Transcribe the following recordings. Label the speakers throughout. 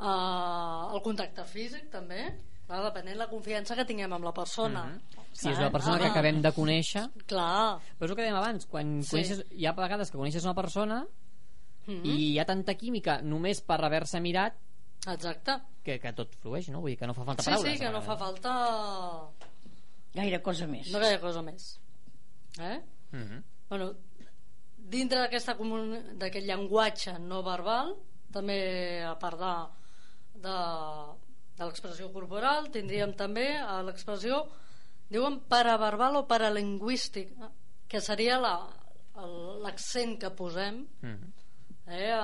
Speaker 1: eh, el contacte físic també, clar, depenent la confiança que tinguem amb la persona. Mm -hmm.
Speaker 2: Si és una persona que acabem de conèixer...
Speaker 1: Clar,
Speaker 2: Però és el que dèiem abans, quan
Speaker 1: Sí.
Speaker 2: sí. coneixes, hi ha vegades que coneixes una persona
Speaker 1: Mhm.
Speaker 2: i hi ha tanta química només per haver-se mirat
Speaker 1: exacte.
Speaker 2: que, que tot flueix, no? Vull dir que no fa falta
Speaker 1: Sí,
Speaker 2: paraules. eh?
Speaker 1: sí,
Speaker 2: a
Speaker 1: que no fa
Speaker 2: vegades.
Speaker 1: falta...
Speaker 3: Gaire cosa més.
Speaker 1: No gaire cosa més. Eh?
Speaker 2: Mhm.
Speaker 1: Bueno, dintre d'aquesta comuni- d'aquest llenguatge no verbal, també a part de, de, de l'expressió corporal, tindríem també a l'expressió, diuen paraverbal o paralingüístic, que seria la- el- l'accent la, que posem,
Speaker 2: Mhm.
Speaker 1: eh,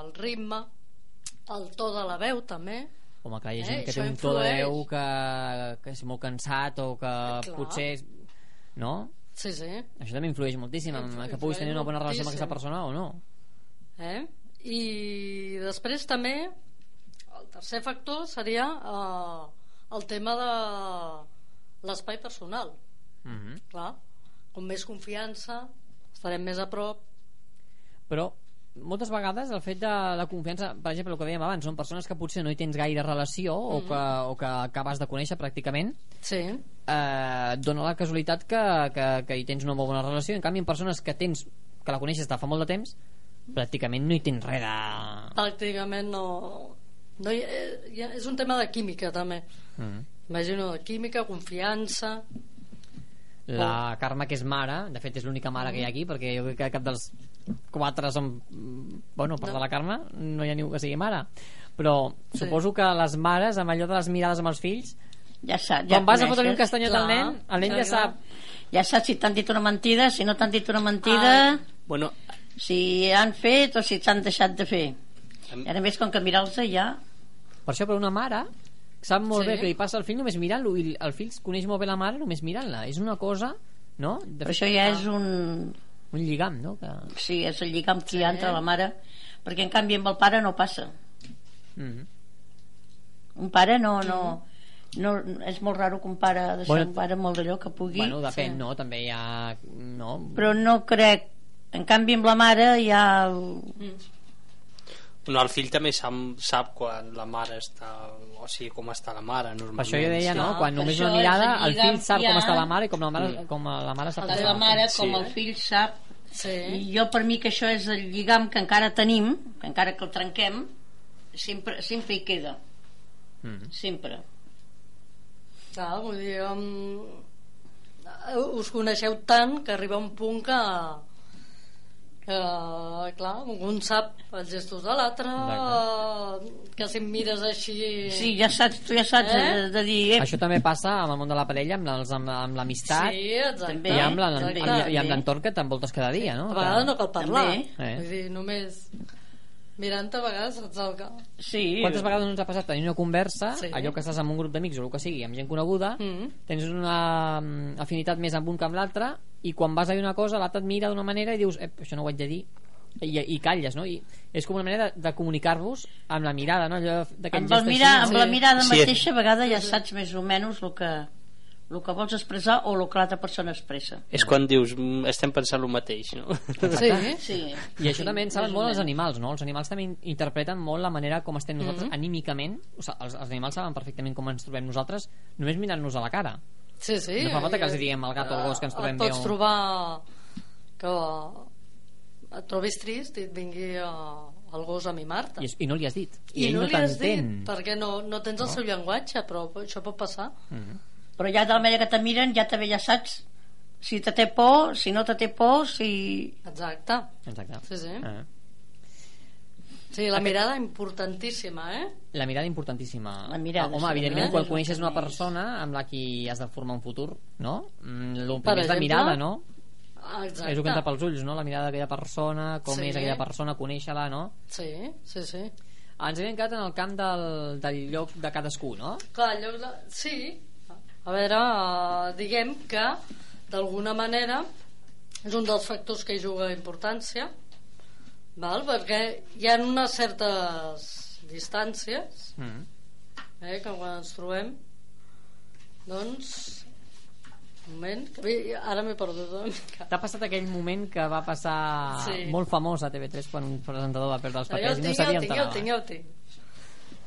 Speaker 1: el ritme, el to de la veu també,
Speaker 2: Home, clar, hi ha
Speaker 1: Eh,
Speaker 2: gent que té
Speaker 1: això
Speaker 2: un to de
Speaker 1: influeix.
Speaker 2: veu que, que és molt cansat o que
Speaker 1: Eh, clar.
Speaker 2: potser... És... No?
Speaker 1: sí, sí,
Speaker 2: Això també influeix moltíssim en
Speaker 1: Influeix
Speaker 2: que puguis tenir una bona relació amb
Speaker 1: moltíssim.
Speaker 2: aquesta persona o no.
Speaker 1: Eh? I després també el tercer factor seria eh, el tema de l'espai personal.
Speaker 2: Mhm.
Speaker 1: Clar, com més confiança, estarem més a prop.
Speaker 2: Però moltes vegades el fet de la confiança, per exemple, el que dèiem abans, són persones que potser no hi tens gaire relació
Speaker 1: Mm-hmm.
Speaker 2: o, que, o que acabes de conèixer pràcticament,
Speaker 1: Sí,
Speaker 2: eh, et dona la casualitat que, que, que hi tens una molt bona relació. En canvi, amb persones que tens que la coneixes de fa molt de temps, pràcticament no hi tens res de...
Speaker 1: pràcticament no... no hi, eh, hi ha, és un tema de química també. Mm-hmm.
Speaker 2: Mm.
Speaker 1: Imagino, de química, confiança... Oh.
Speaker 2: La Carme, que és mare, de fet és l'única mare que hi ha aquí, perquè jo crec que cap dels quatre són... Bueno, per
Speaker 1: No.
Speaker 2: de la Carme, no hi ha ningú que sigui mare. Però
Speaker 1: Sí.
Speaker 2: suposo que les mares, amb allò de les mirades amb els fills,
Speaker 3: Ja saps, ja
Speaker 2: quan vas a
Speaker 3: coneixes.
Speaker 2: fotre-li un castanyet
Speaker 1: Clar.
Speaker 2: al nen, el nen
Speaker 1: Clar,
Speaker 2: ja
Speaker 1: clar.
Speaker 2: sap...
Speaker 3: Ja saps si t'han dit una mentida, si no t'han dit una mentida,
Speaker 4: Bueno,
Speaker 3: si han fet o si s'han deixat de fer.
Speaker 4: Em-
Speaker 3: I ara més, com que mirar-los ja...
Speaker 2: Per això, per una mare, sap molt
Speaker 1: Sí.
Speaker 2: bé que li passa al fill només mirant-lo, i el fill coneix molt bé la mare només mirant-la. És una cosa, no? De
Speaker 3: Però això ja és un...
Speaker 2: Un lligam, no? Que...
Speaker 3: Sí, és el lligam que hi ha entre la mare, perquè en canvi amb el pare no passa.
Speaker 2: Mm.
Speaker 3: Un pare no... no, no és molt raro que un pare deixar
Speaker 2: Bueno,
Speaker 3: un pare molt d'allò que pugui
Speaker 2: Bueno, depèn, no? També hi ha... No?
Speaker 3: però no crec en canvi amb la mare hi ha el...
Speaker 4: no, el fill també sap, sap quan la mare està... O sigui, com està la mare, normalment.
Speaker 2: Per això jo deia, no?
Speaker 3: Ah,
Speaker 2: Quan
Speaker 3: per
Speaker 2: només
Speaker 3: això
Speaker 2: una mirada,
Speaker 3: és el
Speaker 2: el fill
Speaker 3: lligam
Speaker 2: sap
Speaker 3: que hi
Speaker 2: com
Speaker 3: ha.
Speaker 2: està la mare i com la mare, com la mare sap
Speaker 3: el
Speaker 2: com
Speaker 3: de
Speaker 2: està
Speaker 3: la mare
Speaker 4: sí,
Speaker 3: com el
Speaker 4: eh?
Speaker 3: fill sap i
Speaker 1: Sí,
Speaker 3: jo per mi que això és el lligam que encara tenim que encara que el trenquem sempre, sempre hi queda
Speaker 2: Mm.
Speaker 3: sempre
Speaker 1: clar, vull dir... Um, us coneixeu tant que arriba un punt que que, clar, un sap els gestos de l'altre que si em mires així
Speaker 3: sí, ja saps, tu ja saps eh?
Speaker 1: Eh?
Speaker 3: de, de dir eh,
Speaker 2: Això també passa amb el món de la parella, amb els- amb- amb l'amistat
Speaker 1: sí exacte,
Speaker 3: també,
Speaker 2: i amb la-
Speaker 3: també,
Speaker 2: amb la- i amb
Speaker 3: també.
Speaker 2: l'entorn que t'envoltes cada dia, no?
Speaker 1: a vegades no cal parlar
Speaker 2: També.
Speaker 1: eh? vull dir, només mirant a vegades saps el que
Speaker 3: sí,
Speaker 2: Quantes vegades no ens ha passat tenir una conversa,
Speaker 1: Sí.
Speaker 2: sí. allò que estàs amb un grup d'amics o el que sigui, amb gent coneguda,
Speaker 3: Mm.
Speaker 1: Mhm.
Speaker 2: tens una mm, afinitat més amb un que amb l'altre, i quan vas a dir una cosa, l'altre et mira d'una manera i dius, eh, això no ho haig de dir, i, i calles, no? I és com una manera de, de comunicar-vos amb la mirada, no? Allò d'aquest
Speaker 3: amb, el
Speaker 2: gest
Speaker 3: mirar,
Speaker 2: així.
Speaker 3: amb la mirada
Speaker 4: Sí.
Speaker 3: mateixa a vegades ja saps més o menys el que, el que vols expressar o el que l'altra persona expressa
Speaker 4: És quan dius, "Mm, estem pensant el mateix, no?
Speaker 1: sí,
Speaker 3: sí.
Speaker 2: I això també en saben
Speaker 3: més o
Speaker 2: molt els
Speaker 3: menys.
Speaker 2: animals, no? Els animals també in- interpreten molt la manera com estem nosaltres anímicament. O sigui, els, els animals saben perfectament com ens trobem nosaltres només mirant-nos a la cara.
Speaker 1: sí, sí
Speaker 2: No fa falta que els diguem al gat o al gos que ens trobem
Speaker 1: Eh, et
Speaker 2: bé
Speaker 1: pots
Speaker 2: o-
Speaker 1: trobar que eh, et trobis trist i et vingui eh, el gos a mimar-te
Speaker 2: I, és- i no li has dit.
Speaker 1: I
Speaker 2: ell
Speaker 1: no, li has dit
Speaker 2: t'entén.
Speaker 1: perquè no, no tens el seu llenguatge però això pot passar
Speaker 2: Mm,
Speaker 3: però ja de la manera que te miren ja també ja saps si te té por, si no te té por si...
Speaker 1: exacte
Speaker 2: Exacte.
Speaker 1: Sí, sí.
Speaker 2: Ah.
Speaker 1: sí, la mirada importantíssima eh?
Speaker 2: La mirada importantíssima.
Speaker 3: La mirada,
Speaker 2: Ah, Home,
Speaker 3: sí,
Speaker 2: evidentment,
Speaker 3: eh?
Speaker 2: quan
Speaker 3: És el
Speaker 2: coneixes
Speaker 3: que
Speaker 2: una
Speaker 3: més.
Speaker 2: persona amb la qui has de formar un futur, no? Mm, El primer
Speaker 1: Per
Speaker 2: és la
Speaker 1: exemple,
Speaker 2: mirada, no?
Speaker 1: exacte
Speaker 2: És el que entra pels ulls, no? La mirada d'aquella persona, com
Speaker 1: Sí.
Speaker 2: és aquella persona, conèixer-la, no?
Speaker 1: sí, sí, sí
Speaker 2: Ens havíem quedat en el camp del, del lloc de cadascú, no?
Speaker 1: Clar, en lloc de... Sí. A veure, eh, diguem que d'alguna manera és un dels factors que hi juga importància val? perquè hi ha unes certes distàncies
Speaker 2: Mm.
Speaker 1: eh, que quan ens trobem doncs un moment que bé, ara m'he perdut una mica
Speaker 2: T'ha passat aquell moment que va passar
Speaker 1: Sí.
Speaker 2: molt famós a TV3 quan un presentador va perdre els
Speaker 1: jo el
Speaker 2: papers i no
Speaker 1: tinc, jo
Speaker 2: sabia
Speaker 1: el
Speaker 2: on
Speaker 1: tinc, jo el
Speaker 2: anava.
Speaker 1: tinc, jo el tinc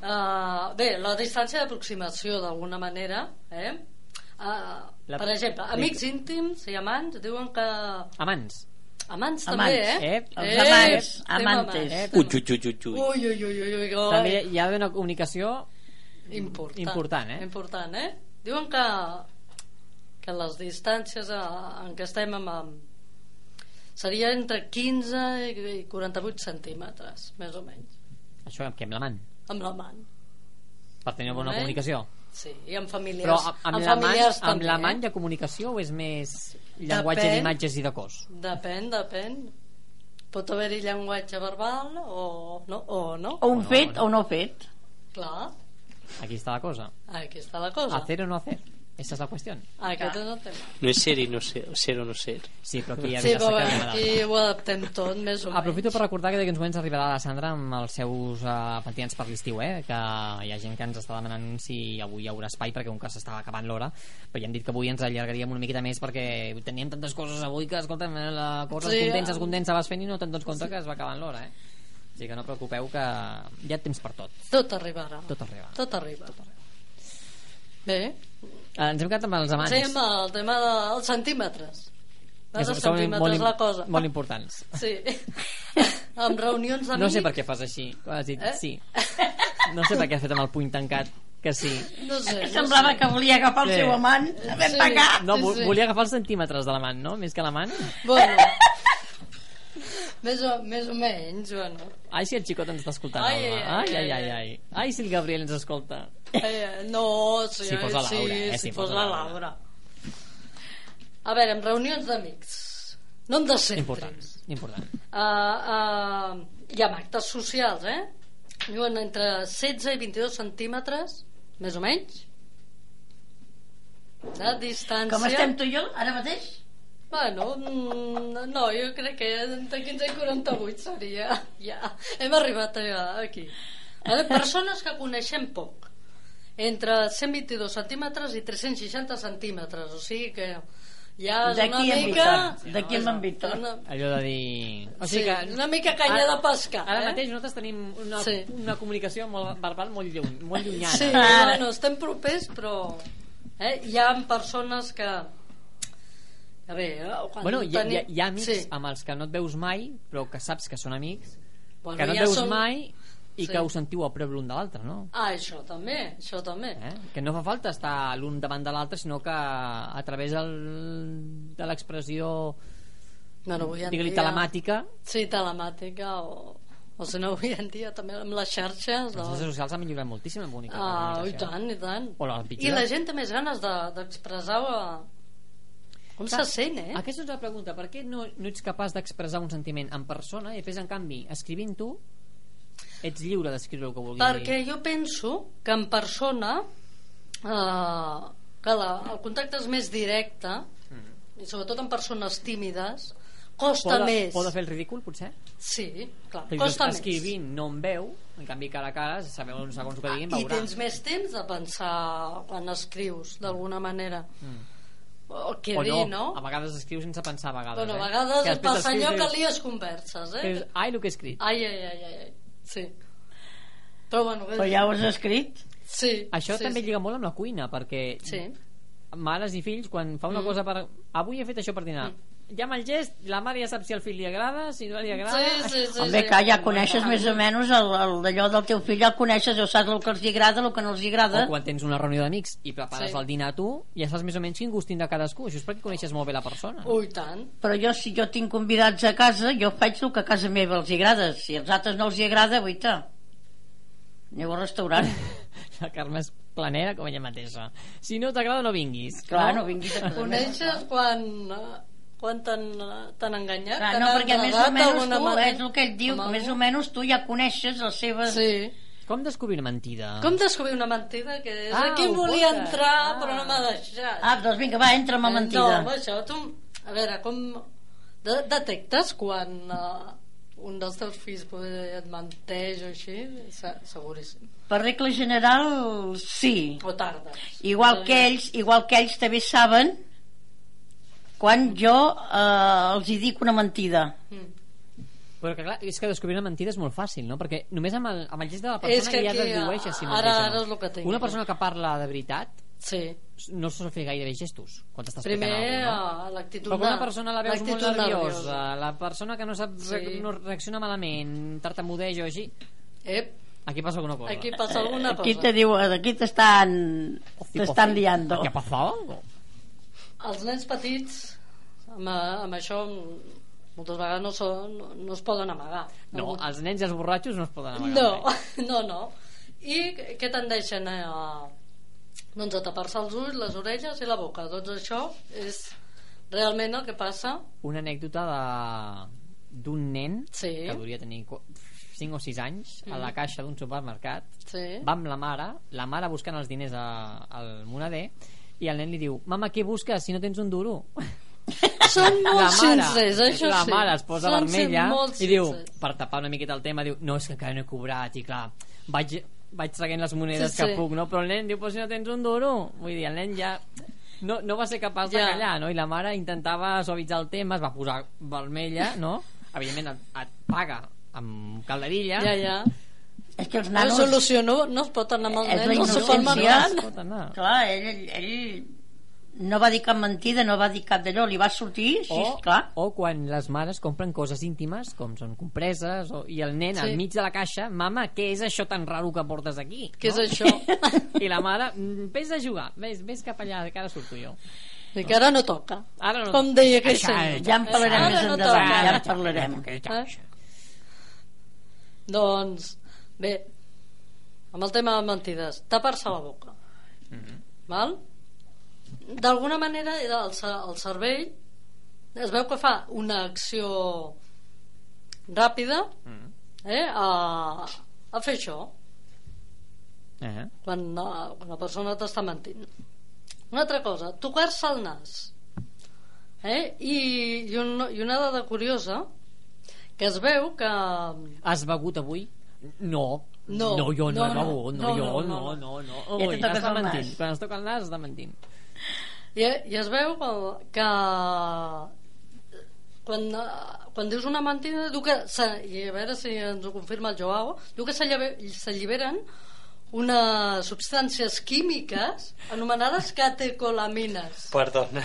Speaker 1: Uh, bé, la distància d'aproximació, d'alguna manera, eh? Uh,
Speaker 2: La-
Speaker 1: per exemple, amics íntims i amants diuen que...
Speaker 2: Amants.
Speaker 1: Amants, també,
Speaker 3: Amants,
Speaker 1: eh?
Speaker 2: eh?
Speaker 3: Els
Speaker 1: Eh,
Speaker 3: amants,
Speaker 1: tema amants,
Speaker 3: amantes.
Speaker 2: Eh,
Speaker 1: tema
Speaker 4: Ui, ui, ui, ui,
Speaker 1: Ui, ui, ui,
Speaker 4: ui.
Speaker 1: ui, ui, ui.
Speaker 2: També hi ha d'haver una comunicació
Speaker 1: important.
Speaker 2: important, eh?
Speaker 1: Important, eh? Diuen que, que les distàncies a- en què estem amb, amb seria entre 15 i i 48 centímetres, més o menys,
Speaker 2: això que amb l'amant
Speaker 1: amb l'amant.
Speaker 2: per tenir bona
Speaker 1: Eh?
Speaker 2: comunicació
Speaker 1: Sí, i amb familiars.
Speaker 2: però a- amb
Speaker 1: amb
Speaker 2: l'amant
Speaker 1: familiars
Speaker 2: amb
Speaker 1: també,
Speaker 2: l'amant hi
Speaker 1: eh?
Speaker 2: ha comunicació o és més llenguatge
Speaker 1: Depèn.
Speaker 2: d'imatges i de cos
Speaker 1: Depèn, depèn. Pot haver-hi llenguatge verbal o no, o no.
Speaker 3: O un
Speaker 2: Bueno,
Speaker 3: fet
Speaker 2: bueno.
Speaker 3: o no fet.
Speaker 1: Clar,
Speaker 2: aquí està la cosa
Speaker 1: aquí està la cosa.
Speaker 2: hacer o no hacer esa és la qüestió
Speaker 1: Aquest és el tema.
Speaker 4: No és ser i no ser, ser o no ser.
Speaker 2: sí però aquí ja
Speaker 1: Sí,
Speaker 2: sí,
Speaker 1: però bé,
Speaker 2: però
Speaker 1: aquí ho adaptem tot, més o menys.
Speaker 2: Aprofito per recordar que d'aquí uns moments arribarà la Sandra amb els seus uh, pentinats per l'estiu, eh? que hi ha gent que ens està demanant si avui hi haurà espai perquè un cas s'estava acabant l'hora, però ja hem dit que avui ens allargaríem una miqueta més perquè teníem tantes coses avui que, escolta, la cosa
Speaker 1: Sí,
Speaker 2: es condensa,
Speaker 1: eh?
Speaker 2: es condensa, vas fent i no te'n dones compte que es va acabant l'hora, eh? O sigui que no preocupeu que hi ha temps per tot.
Speaker 1: Tot arribarà.
Speaker 2: Tot arriba.
Speaker 1: Tot arriba. Bé,
Speaker 2: Eh, ens hem quedat amb els amants.
Speaker 1: sí, amb el tema dels centímetres. Dels
Speaker 2: són- són
Speaker 1: centímetres,
Speaker 2: molt, im-
Speaker 1: la cosa.
Speaker 2: molt importants.
Speaker 1: Sí. amb reunions d'amics...
Speaker 2: No sé per què fas així, quan has dit
Speaker 1: Eh?
Speaker 2: sí. No sé per què has fet amb el puny tancat, que sí.
Speaker 1: No sé.
Speaker 3: Que
Speaker 1: no
Speaker 3: semblava
Speaker 1: sé.
Speaker 3: que volia agafar el
Speaker 2: Sí.
Speaker 3: seu amant. La vam
Speaker 1: Sí.
Speaker 3: pagar.
Speaker 2: No,
Speaker 1: Sí,
Speaker 2: vo-
Speaker 1: sí.
Speaker 2: volia agafar els centímetres de la mà, no? Més que la mà.
Speaker 1: Bueno. més, o, més o menys, bueno.
Speaker 2: Ai, si el Xicot ens està escoltant.
Speaker 1: Ai,
Speaker 2: home.
Speaker 1: ai,
Speaker 2: ai,
Speaker 1: ai,
Speaker 2: ai, ai, ai. Ai, si el Gabriel ens escolta.
Speaker 1: Eh, no, sí,
Speaker 2: Si fos la
Speaker 1: sí,
Speaker 2: Laura, eh,
Speaker 1: si,
Speaker 2: si
Speaker 1: fos la Laura. A veure, amb reunions d'amics. No em descentris.
Speaker 2: Important, important.
Speaker 1: Uh, uh, hi ha actes socials, eh? Diuen entre 16 i 22 centímetres, més o menys, de distància.
Speaker 3: Com estem tu i jo, ara mateix?
Speaker 1: Bueno, mm, no, jo crec que entre 15 i 48 seria. Ja, hem arribat a- aquí. Eh, persones que coneixem poc, entre 122 centímetres i 360 centímetres, o sigui que ja és una
Speaker 3: D'aquí en
Speaker 1: mica...
Speaker 3: Víctor, d'aquí en Víctor.
Speaker 1: Una,
Speaker 2: Allò de dir... O
Speaker 1: sí,
Speaker 2: sigui que...
Speaker 1: una mica canya
Speaker 2: Ara-
Speaker 1: de pescar.
Speaker 2: Ara
Speaker 1: eh?
Speaker 2: mateix nosaltres tenim una,
Speaker 1: Sí.
Speaker 2: una comunicació molt verbal molt, lluny, molt llunyana.
Speaker 1: Sí,
Speaker 3: Ara.
Speaker 1: bueno, estem propers, però eh, hi ha persones que... A veure, eh, quan
Speaker 2: Bueno, hi, ha- hi, ha- hi ha amics
Speaker 1: Sí.
Speaker 2: amb els que no et veus mai, però que saps que són amics,
Speaker 1: Bueno,
Speaker 2: que no et
Speaker 1: ja
Speaker 2: veus
Speaker 1: són-
Speaker 2: mai i
Speaker 1: Sí.
Speaker 2: que us sentiu a prop l'un de l'altre, no?
Speaker 1: Ah, això també, això també.
Speaker 2: Eh? Que no fa falta estar l'un davant de l'altre, sinó que a través del, de l'expressió,
Speaker 1: Bueno, avui en
Speaker 2: digue-li,
Speaker 1: dia-
Speaker 2: telemàtica,
Speaker 1: Sí, telemàtica o... O si no, avui en dia també amb les xarxes...
Speaker 2: les
Speaker 1: Doncs...
Speaker 2: xarxes socials han millorat moltíssim la comunica- la
Speaker 1: Ah, i
Speaker 2: comunicació.
Speaker 1: tant, i tant.
Speaker 2: O la
Speaker 1: I
Speaker 2: pitjor.
Speaker 1: la gent té més ganes de- d'expressar de, com se sent, eh?
Speaker 2: Aquesta és la pregunta. Per què no, no ets capaç d'expressar un sentiment en persona i després, en canvi, escrivint tu, ets lliure d'escriure el que vulguis
Speaker 1: Perquè jo penso que en persona eh, que la, el contacte és més directe i sobretot en persones tímides costa
Speaker 2: Mm-hmm. Poda,
Speaker 1: més.
Speaker 2: poda fer el ridícul, potser?
Speaker 1: Sí, clar,
Speaker 2: Però
Speaker 1: costa més.
Speaker 2: escrivint no em veu, en canvi cara a cara, sabeu segons el que diguin,
Speaker 1: Ah, I
Speaker 2: veurà.
Speaker 1: tens més temps de pensar quan escrius, d'alguna manera. Mm. O què
Speaker 2: o no,
Speaker 1: dir, no?
Speaker 2: a vegades escrius sense pensar a vegades.
Speaker 1: Bueno, a
Speaker 2: eh?
Speaker 1: vegades
Speaker 2: Que
Speaker 1: et passa
Speaker 2: després escrius
Speaker 1: allò
Speaker 2: i
Speaker 1: que
Speaker 2: dius-
Speaker 1: lies converses, eh?
Speaker 2: dius, Ai, el que he escrit.
Speaker 1: Ai, ai, ai, ai, ai. Sí. Però bueno,
Speaker 3: Però ja ho has escrit.
Speaker 1: sí.
Speaker 2: Això
Speaker 1: sí,
Speaker 2: també
Speaker 1: sí.
Speaker 2: lliga molt amb la cuina, perquè
Speaker 1: Sí.
Speaker 2: mares i fills, quan fa una
Speaker 1: Mm.
Speaker 2: cosa per... Avui he fet això per dinar. Ja amb el gest, la mare ja sap si al fill li agrada, si no li agrada...
Speaker 1: Sí, sí, sí.
Speaker 3: Home,
Speaker 1: sí.
Speaker 3: que ja coneixes més o menys el, el, allò del teu fill, ja el coneixes, ja saps el que els hi agrada, el que no els hi agrada.
Speaker 2: O quan tens una reunió d'amics i prepares
Speaker 1: Sí.
Speaker 2: el dinar tu, ja saps més o menys quin gust tindrà cadascú. Això és perquè coneixes molt bé la persona.
Speaker 1: Ui, tant.
Speaker 3: Però jo, si jo tinc convidats a casa, jo faig el que a casa meva els hi agrada. Si als altres no els hi agrada, guaita, aneu al restaurant.
Speaker 2: La Carme és planera com ella mateixa. Si no t'agrada, no vinguis.
Speaker 3: Clar, no, vinguis a casa meva.
Speaker 1: Coneixes quan, eh, quan t'han t'han enganyat?
Speaker 3: Clar,
Speaker 1: t'han
Speaker 3: no, perquè més o
Speaker 1: enredat
Speaker 3: menys
Speaker 1: d'alguna
Speaker 3: tu,
Speaker 1: manera?
Speaker 3: és el que et diu,
Speaker 1: Amb
Speaker 3: més o
Speaker 1: algú?
Speaker 3: menys tu ja coneixes les seves...
Speaker 1: Sí.
Speaker 2: Com descobrir una mentida?
Speaker 1: Com descobrir una mentida que és?
Speaker 2: Ah,
Speaker 1: Ah, Aquí
Speaker 2: ho
Speaker 1: em volia
Speaker 2: votes.
Speaker 1: entrar,
Speaker 2: Ah.
Speaker 1: ah. però no m'ha deixat.
Speaker 3: Ah, doncs vinga, va, entra amb la
Speaker 1: Eh,
Speaker 3: mentida.
Speaker 1: No, això, tu... A veure, com... De detectes quan uh, un dels teus fills poder et menteix o així? Se- Seguríssim.
Speaker 3: Per regla general, sí.
Speaker 1: O tardes.
Speaker 3: Igual que ells, igual que ells també saben quan jo eh, els hi dic una mentida.
Speaker 1: Mm.
Speaker 2: Però que clar, és que descobrir una mentida és molt fàcil, no? Perquè només amb el, amb el gest de la persona
Speaker 1: És que
Speaker 2: ja
Speaker 1: aquí,
Speaker 2: dedueix a si
Speaker 1: ara-
Speaker 2: mateixa. no?
Speaker 1: ara és lo que tinc.
Speaker 2: Una persona que parla de veritat
Speaker 1: Sí.
Speaker 2: no sol fer gairebé gestos quan t'està explicant
Speaker 1: Primer,
Speaker 2: alguna cosa, no?
Speaker 1: eh, l'actitud
Speaker 2: Però quan una persona la veus molt
Speaker 1: l'actitud
Speaker 2: nerviosa, la persona que no sap
Speaker 1: Sí.
Speaker 2: no reacciona malament, tartamudeja o així,
Speaker 1: Ep,
Speaker 2: aquí passa alguna cosa.
Speaker 1: aquí passa alguna
Speaker 3: Eh, Aquí
Speaker 1: cosa.
Speaker 3: te diu, aquí t'estan t'estan liando.
Speaker 2: Aquí ha passat algo.
Speaker 1: Els nens petits, amb, eh, amb això, moltes vegades no, són, no, no es poden amagar.
Speaker 2: No, els nens i els borratxos no es poden amagar.
Speaker 1: No,
Speaker 2: mai.
Speaker 1: no, no. I què tendeixen a, doncs a tapar-se els ulls, les orelles i la boca? Doncs això és realment el que passa.
Speaker 2: Una anècdota de d'un nen
Speaker 1: Sí. Mm.
Speaker 2: que devia tenir 5 o 6 anys a la caixa d'un supermercat
Speaker 1: Sí.
Speaker 2: va amb la mare, la mare buscant els diners a, al moneder i el nen li diu, mama, què busques si no tens un duro?
Speaker 1: Són
Speaker 2: la
Speaker 1: molt
Speaker 2: mare,
Speaker 1: sincers, això
Speaker 2: la
Speaker 1: sí.
Speaker 2: mare es posa
Speaker 1: Són
Speaker 2: vermella
Speaker 1: molt
Speaker 2: i diu,
Speaker 1: sincers.
Speaker 2: per tapar una miqueta el tema, diu, no, és que encara no he cobrat i clar, vaig, vaig traient les monedes
Speaker 1: Sí,
Speaker 2: sí,
Speaker 1: sí.
Speaker 2: que puc, no? Però el nen diu, però si no tens un duro, vull dir, el nen ja... No, no va ser capaç de
Speaker 1: Ja.
Speaker 2: callar, no? I la mare intentava suavitzar el tema, es va posar vermella, no? Evidentment et, et paga amb calderilla.
Speaker 1: Ja, ja.
Speaker 3: És que els
Speaker 1: La
Speaker 3: nanos...
Speaker 1: solució no, no es pot anar amb els
Speaker 3: És
Speaker 1: nens
Speaker 3: la
Speaker 1: al
Speaker 3: innocència.
Speaker 1: supermercat.
Speaker 2: Pot anar.
Speaker 3: Clar, ell, ell, ell no va dir cap mentida, no va dir cap d'allò, li va sortir, sí,
Speaker 1: Oh.
Speaker 2: o,
Speaker 3: clar.
Speaker 2: o quan les mares compren coses íntimes com són compreses o, i el nen
Speaker 1: Sí.
Speaker 2: sí. al mig de la caixa mama, què és això tan raro que portes aquí?
Speaker 1: Què és
Speaker 2: no?
Speaker 1: això?
Speaker 2: i la mare, "Mm, vés a jugar vés, vés cap allà, que ara surto jo
Speaker 1: I que ara no toca.
Speaker 2: Ara no
Speaker 1: Com
Speaker 2: toca.
Speaker 1: deia aquell
Speaker 2: Això,
Speaker 1: senyor.
Speaker 3: Ja en parlarem
Speaker 1: Ara
Speaker 3: més
Speaker 1: no
Speaker 3: endavant,
Speaker 1: toca.
Speaker 3: ja en parlarem.
Speaker 1: Eh? Doncs, bé, amb el tema de mentides, tapar-se la boca. Mm -hmm. Val? D'alguna manera, el, ce- el cervell es veu que fa una acció ràpida eh, a, a fer això
Speaker 2: Eh?
Speaker 1: quan una, quan una persona t'està mentint. Una altra cosa, tocar-se el nas. Eh? I, i, un, I una dada curiosa, que es veu que...
Speaker 2: has begut avui? no
Speaker 1: No,
Speaker 2: no, jo no,
Speaker 1: no,
Speaker 2: he
Speaker 1: no,
Speaker 2: begut,
Speaker 1: no,
Speaker 2: no, jo
Speaker 1: no,
Speaker 2: no,
Speaker 1: no.
Speaker 2: no, no.
Speaker 3: Ja
Speaker 2: Ui,
Speaker 3: te toques
Speaker 2: està
Speaker 3: el nas.
Speaker 2: mentint. Quan es toca el nas, està mentint.
Speaker 1: I, i es veu que, que quan, eh, quan dius una mentida diu que se, i a veure si ens ho confirma el Joao diu que s'allibe- s'alliberen unes substàncies químiques anomenades catecolamines
Speaker 4: Perdona.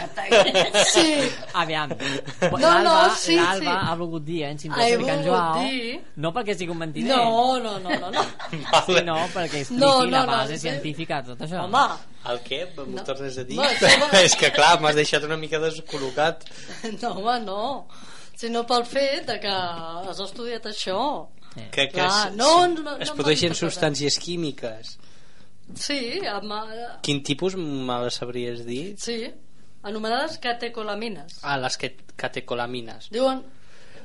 Speaker 1: sí,
Speaker 2: Aviam,
Speaker 1: No,
Speaker 2: l'Alba
Speaker 1: no, sí,
Speaker 2: l'Alba
Speaker 1: sí.
Speaker 2: ha volgut dir, eh, en Cintura,
Speaker 1: He
Speaker 2: que en
Speaker 1: volgut
Speaker 2: Joao,
Speaker 1: dir-
Speaker 2: no perquè sigui un mentider,
Speaker 1: no, no, no, no, no.
Speaker 2: Sí, no, perquè expliqui
Speaker 1: No,
Speaker 2: no,
Speaker 1: no,
Speaker 2: la
Speaker 1: no,
Speaker 2: base
Speaker 1: sí.
Speaker 2: no, científica de tot això.
Speaker 1: home,
Speaker 4: El què? M'ho tornes a dir?
Speaker 1: No, això va-
Speaker 4: és que clar, m'has deixat una mica descol·locat.
Speaker 1: no, home, no sinó pel fet de que has estudiat això
Speaker 2: Eh.
Speaker 4: Que, que
Speaker 1: Clar,
Speaker 4: es,
Speaker 1: no, no, no,
Speaker 4: es
Speaker 1: no
Speaker 4: produeixen
Speaker 1: m'han dit
Speaker 4: substàncies químiques.
Speaker 1: sí, amb, eh,
Speaker 4: Quin tipus me la sabries dir?
Speaker 1: sí anomenades catecolamines
Speaker 4: Ah, les que- catecolamines.
Speaker 1: diuen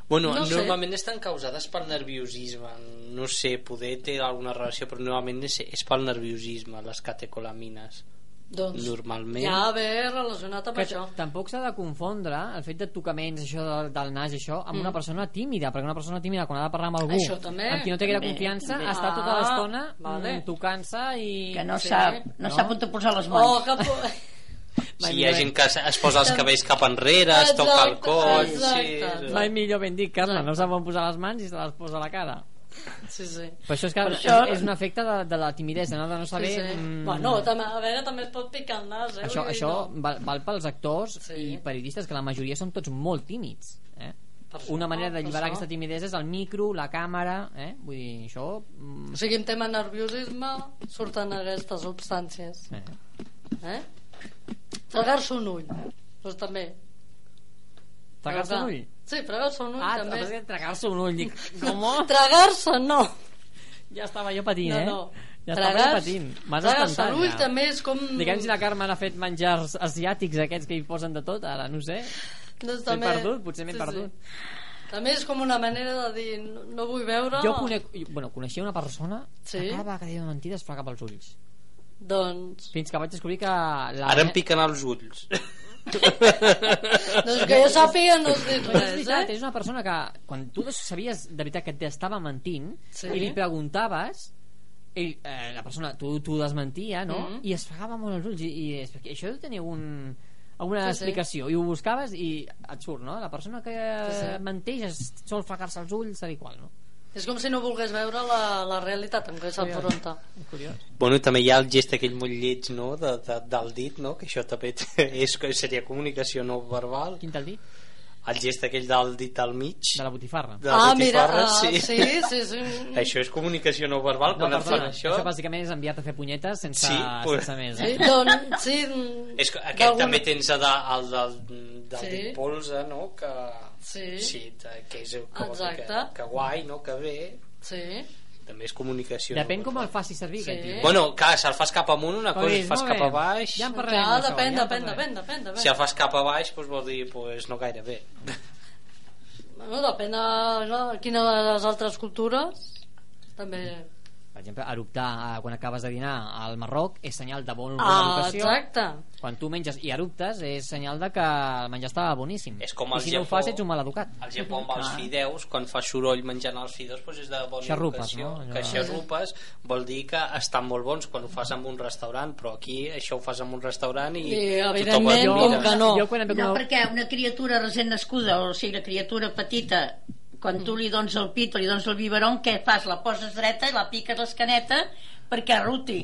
Speaker 4: Bueno,
Speaker 1: No
Speaker 4: no
Speaker 1: sé.
Speaker 4: normalment estan causades pel nerviosisme. No sé, poder té alguna relació, però normalment és, és pel nerviosisme, les catecolamines.
Speaker 1: Doncs
Speaker 4: Normalment.
Speaker 1: ja ve relacionat amb
Speaker 2: Que
Speaker 1: això.
Speaker 2: tampoc s'ha de confondre el fet de tocaments això del, del nas i això amb una persona tímida perquè una persona tímida quan ha de parlar amb algú
Speaker 1: Mm. Això també.
Speaker 2: amb qui no té gaire
Speaker 3: També,
Speaker 2: confiança
Speaker 3: també.
Speaker 2: està tota
Speaker 1: Ah,
Speaker 2: l'estona
Speaker 1: vale.
Speaker 2: vale. tocant-se i
Speaker 3: Que no
Speaker 1: Sí.
Speaker 3: sap,
Speaker 2: No?
Speaker 3: no, sap on te posar les mans.
Speaker 1: Oh, que po...
Speaker 4: Si hi ha gent que es- es posa els cabells cap enrere, es toca el
Speaker 1: Exacte,
Speaker 4: coll...
Speaker 1: exacte.
Speaker 4: Sí,
Speaker 2: mai millor ben dit Carla, no sap on posar les mans i se les posa a la cara
Speaker 1: Sí, sí.
Speaker 2: però això és, que
Speaker 3: Per això-
Speaker 2: és, és un efecte de, de la timidesa no? de no
Speaker 1: sí,
Speaker 2: saber
Speaker 1: sí.
Speaker 2: mm,
Speaker 1: Bueno, també, a veure, també es pot picar el nas, eh?
Speaker 2: això,
Speaker 1: Vull dir,
Speaker 2: això
Speaker 1: no.
Speaker 2: val, val pels actors
Speaker 1: Sí.
Speaker 2: sí. i periodistes que la majoria són tots molt tímids eh?
Speaker 1: Per això,
Speaker 2: una manera
Speaker 1: per
Speaker 2: d'alliberar
Speaker 1: això.
Speaker 2: aquesta timidesa és el micro, la càmera eh? vull dir, això mm,
Speaker 1: O sigui, en tema nerviosisme surten aquestes substàncies.
Speaker 2: eh?
Speaker 1: Eh? Fregar-se un ull. Doncs també.
Speaker 2: tragar-se un ull
Speaker 1: Sí, fregar-se un ull
Speaker 2: ah,
Speaker 1: també. Oh.
Speaker 2: també... tragar-se un ull dic, com?
Speaker 1: Tragar-se, no.
Speaker 2: ja estava jo patint
Speaker 1: No,
Speaker 2: eh?
Speaker 1: no.
Speaker 2: ja estava jo
Speaker 1: Tragar-se-
Speaker 2: patint m'has
Speaker 1: Tragar-se
Speaker 2: espantat
Speaker 1: l'ull
Speaker 2: ja.
Speaker 1: també és com...
Speaker 2: diguem si la Carme n'ha fet menjars asiàtics aquests que hi posen de tot ara, no ho sé
Speaker 1: Doncs
Speaker 2: M'he perdut, potser m'he perdut.
Speaker 1: També és com una manera de dir, no, no vull veure...
Speaker 2: jo conec, jo- bueno, coneixia una persona
Speaker 1: Sí.
Speaker 2: que cada vegada que deia mentides fregava els ulls
Speaker 1: Doncs,
Speaker 2: fins que vaig descobrir que la,
Speaker 4: Ara em piquen els ulls.
Speaker 1: doncs que jo sàpiga no us dic
Speaker 2: Però
Speaker 1: res,
Speaker 2: és veritat,
Speaker 1: eh?
Speaker 2: és una persona que quan tu sabies de veritat que t'estava mentint
Speaker 1: Sí.
Speaker 2: sí. i li preguntaves ell, eh, la persona, tu, tu desmentia no?
Speaker 1: Mhm.
Speaker 2: i es fregava molt els ulls i, i és- perquè això deu tenir algun
Speaker 1: Sí,
Speaker 2: alguna sí,
Speaker 1: sí.
Speaker 2: explicació sí. i ho buscaves i et surt, no? La persona que sí,
Speaker 1: Sí,
Speaker 2: sí.
Speaker 1: sí.
Speaker 2: menteix es sol fregar-se els ulls, tal i qual, no?
Speaker 1: És com si no volgués veure la, la realitat amb què s'enfronta.
Speaker 2: És curiós.
Speaker 4: Bueno, i també hi ha el gest aquell molt lleig no? de, de, del dit, no? que això també té- és, seria comunicació no verbal.
Speaker 2: Quin t'ha dit?
Speaker 4: El gest aquell del dit al mig,
Speaker 2: De la botifarra.
Speaker 4: de
Speaker 1: ah, mira,
Speaker 4: botifarra,
Speaker 1: ah, sí. sí, sí, sí.
Speaker 4: Això és comunicació no verbal, quan et fan això...
Speaker 2: això bàsicament és enviat a fer punyetes sense,
Speaker 4: Sí,
Speaker 2: sí,
Speaker 4: pues-
Speaker 2: sense més.
Speaker 1: Sí,
Speaker 2: Eh?
Speaker 1: doncs, sí, mm,
Speaker 4: És que aquest
Speaker 1: d'alguna-
Speaker 4: també tens el, de- el del, del
Speaker 1: Sí.
Speaker 4: sí. dit polze, no? Que,
Speaker 1: Sí.
Speaker 4: sí de, que és que, vol dir que,
Speaker 1: Exacte.
Speaker 4: que guai, no? Que bé.
Speaker 1: Sí,
Speaker 4: També és comunicació.
Speaker 2: Depèn
Speaker 4: no
Speaker 2: com el
Speaker 4: verbal.
Speaker 2: facis servir,
Speaker 1: Sí.
Speaker 2: aquest tio.
Speaker 4: Bueno, clar, si el fas cap amunt una cosa,
Speaker 2: Oi,
Speaker 4: si el fas
Speaker 2: molt
Speaker 4: cap
Speaker 2: bé.
Speaker 4: a baix...
Speaker 2: Ja en parlarem,
Speaker 1: clar, depèn,
Speaker 2: d'això, ja en
Speaker 1: depèn,
Speaker 2: parlarem.
Speaker 1: depèn, depèn, depèn.
Speaker 4: Si el fas cap a baix, doncs vol dir, pues, no gaire bé.
Speaker 1: Bueno, depèn de no, quina de les altres cultures també...
Speaker 2: Per exemple, eruptar eh, quan acabes de dinar al Marroc és senyal de bona
Speaker 1: Ah,
Speaker 2: educació.
Speaker 1: exacte.
Speaker 2: Quan tu menges i eruptes és senyal de que el menjar estava boníssim.
Speaker 4: És com
Speaker 2: I
Speaker 4: el
Speaker 2: si no ho
Speaker 4: Japó.
Speaker 2: fas ets un maleducat.
Speaker 4: Al Japó amb
Speaker 2: Ah.
Speaker 4: els fideus, quan fa soroll menjant els fideus, doncs és de bona
Speaker 2: Xarrupes,
Speaker 4: educació.
Speaker 2: no? Allò-
Speaker 4: Que xarrupes vol dir que estan molt bons quan ho fas en un restaurant, però aquí això ho fas en un restaurant i,
Speaker 1: I,
Speaker 4: tothom
Speaker 1: evidentment,
Speaker 4: et
Speaker 1: com
Speaker 4: mira.
Speaker 1: que no.
Speaker 2: Jo quan em ve
Speaker 3: No,
Speaker 2: com a-
Speaker 3: perquè una criatura recent nascuda, o sigui, una criatura petita, quan tu li dones el pit o li dones el biberon, què fas? La poses dreta i la piques l'escaneta perquè ruti,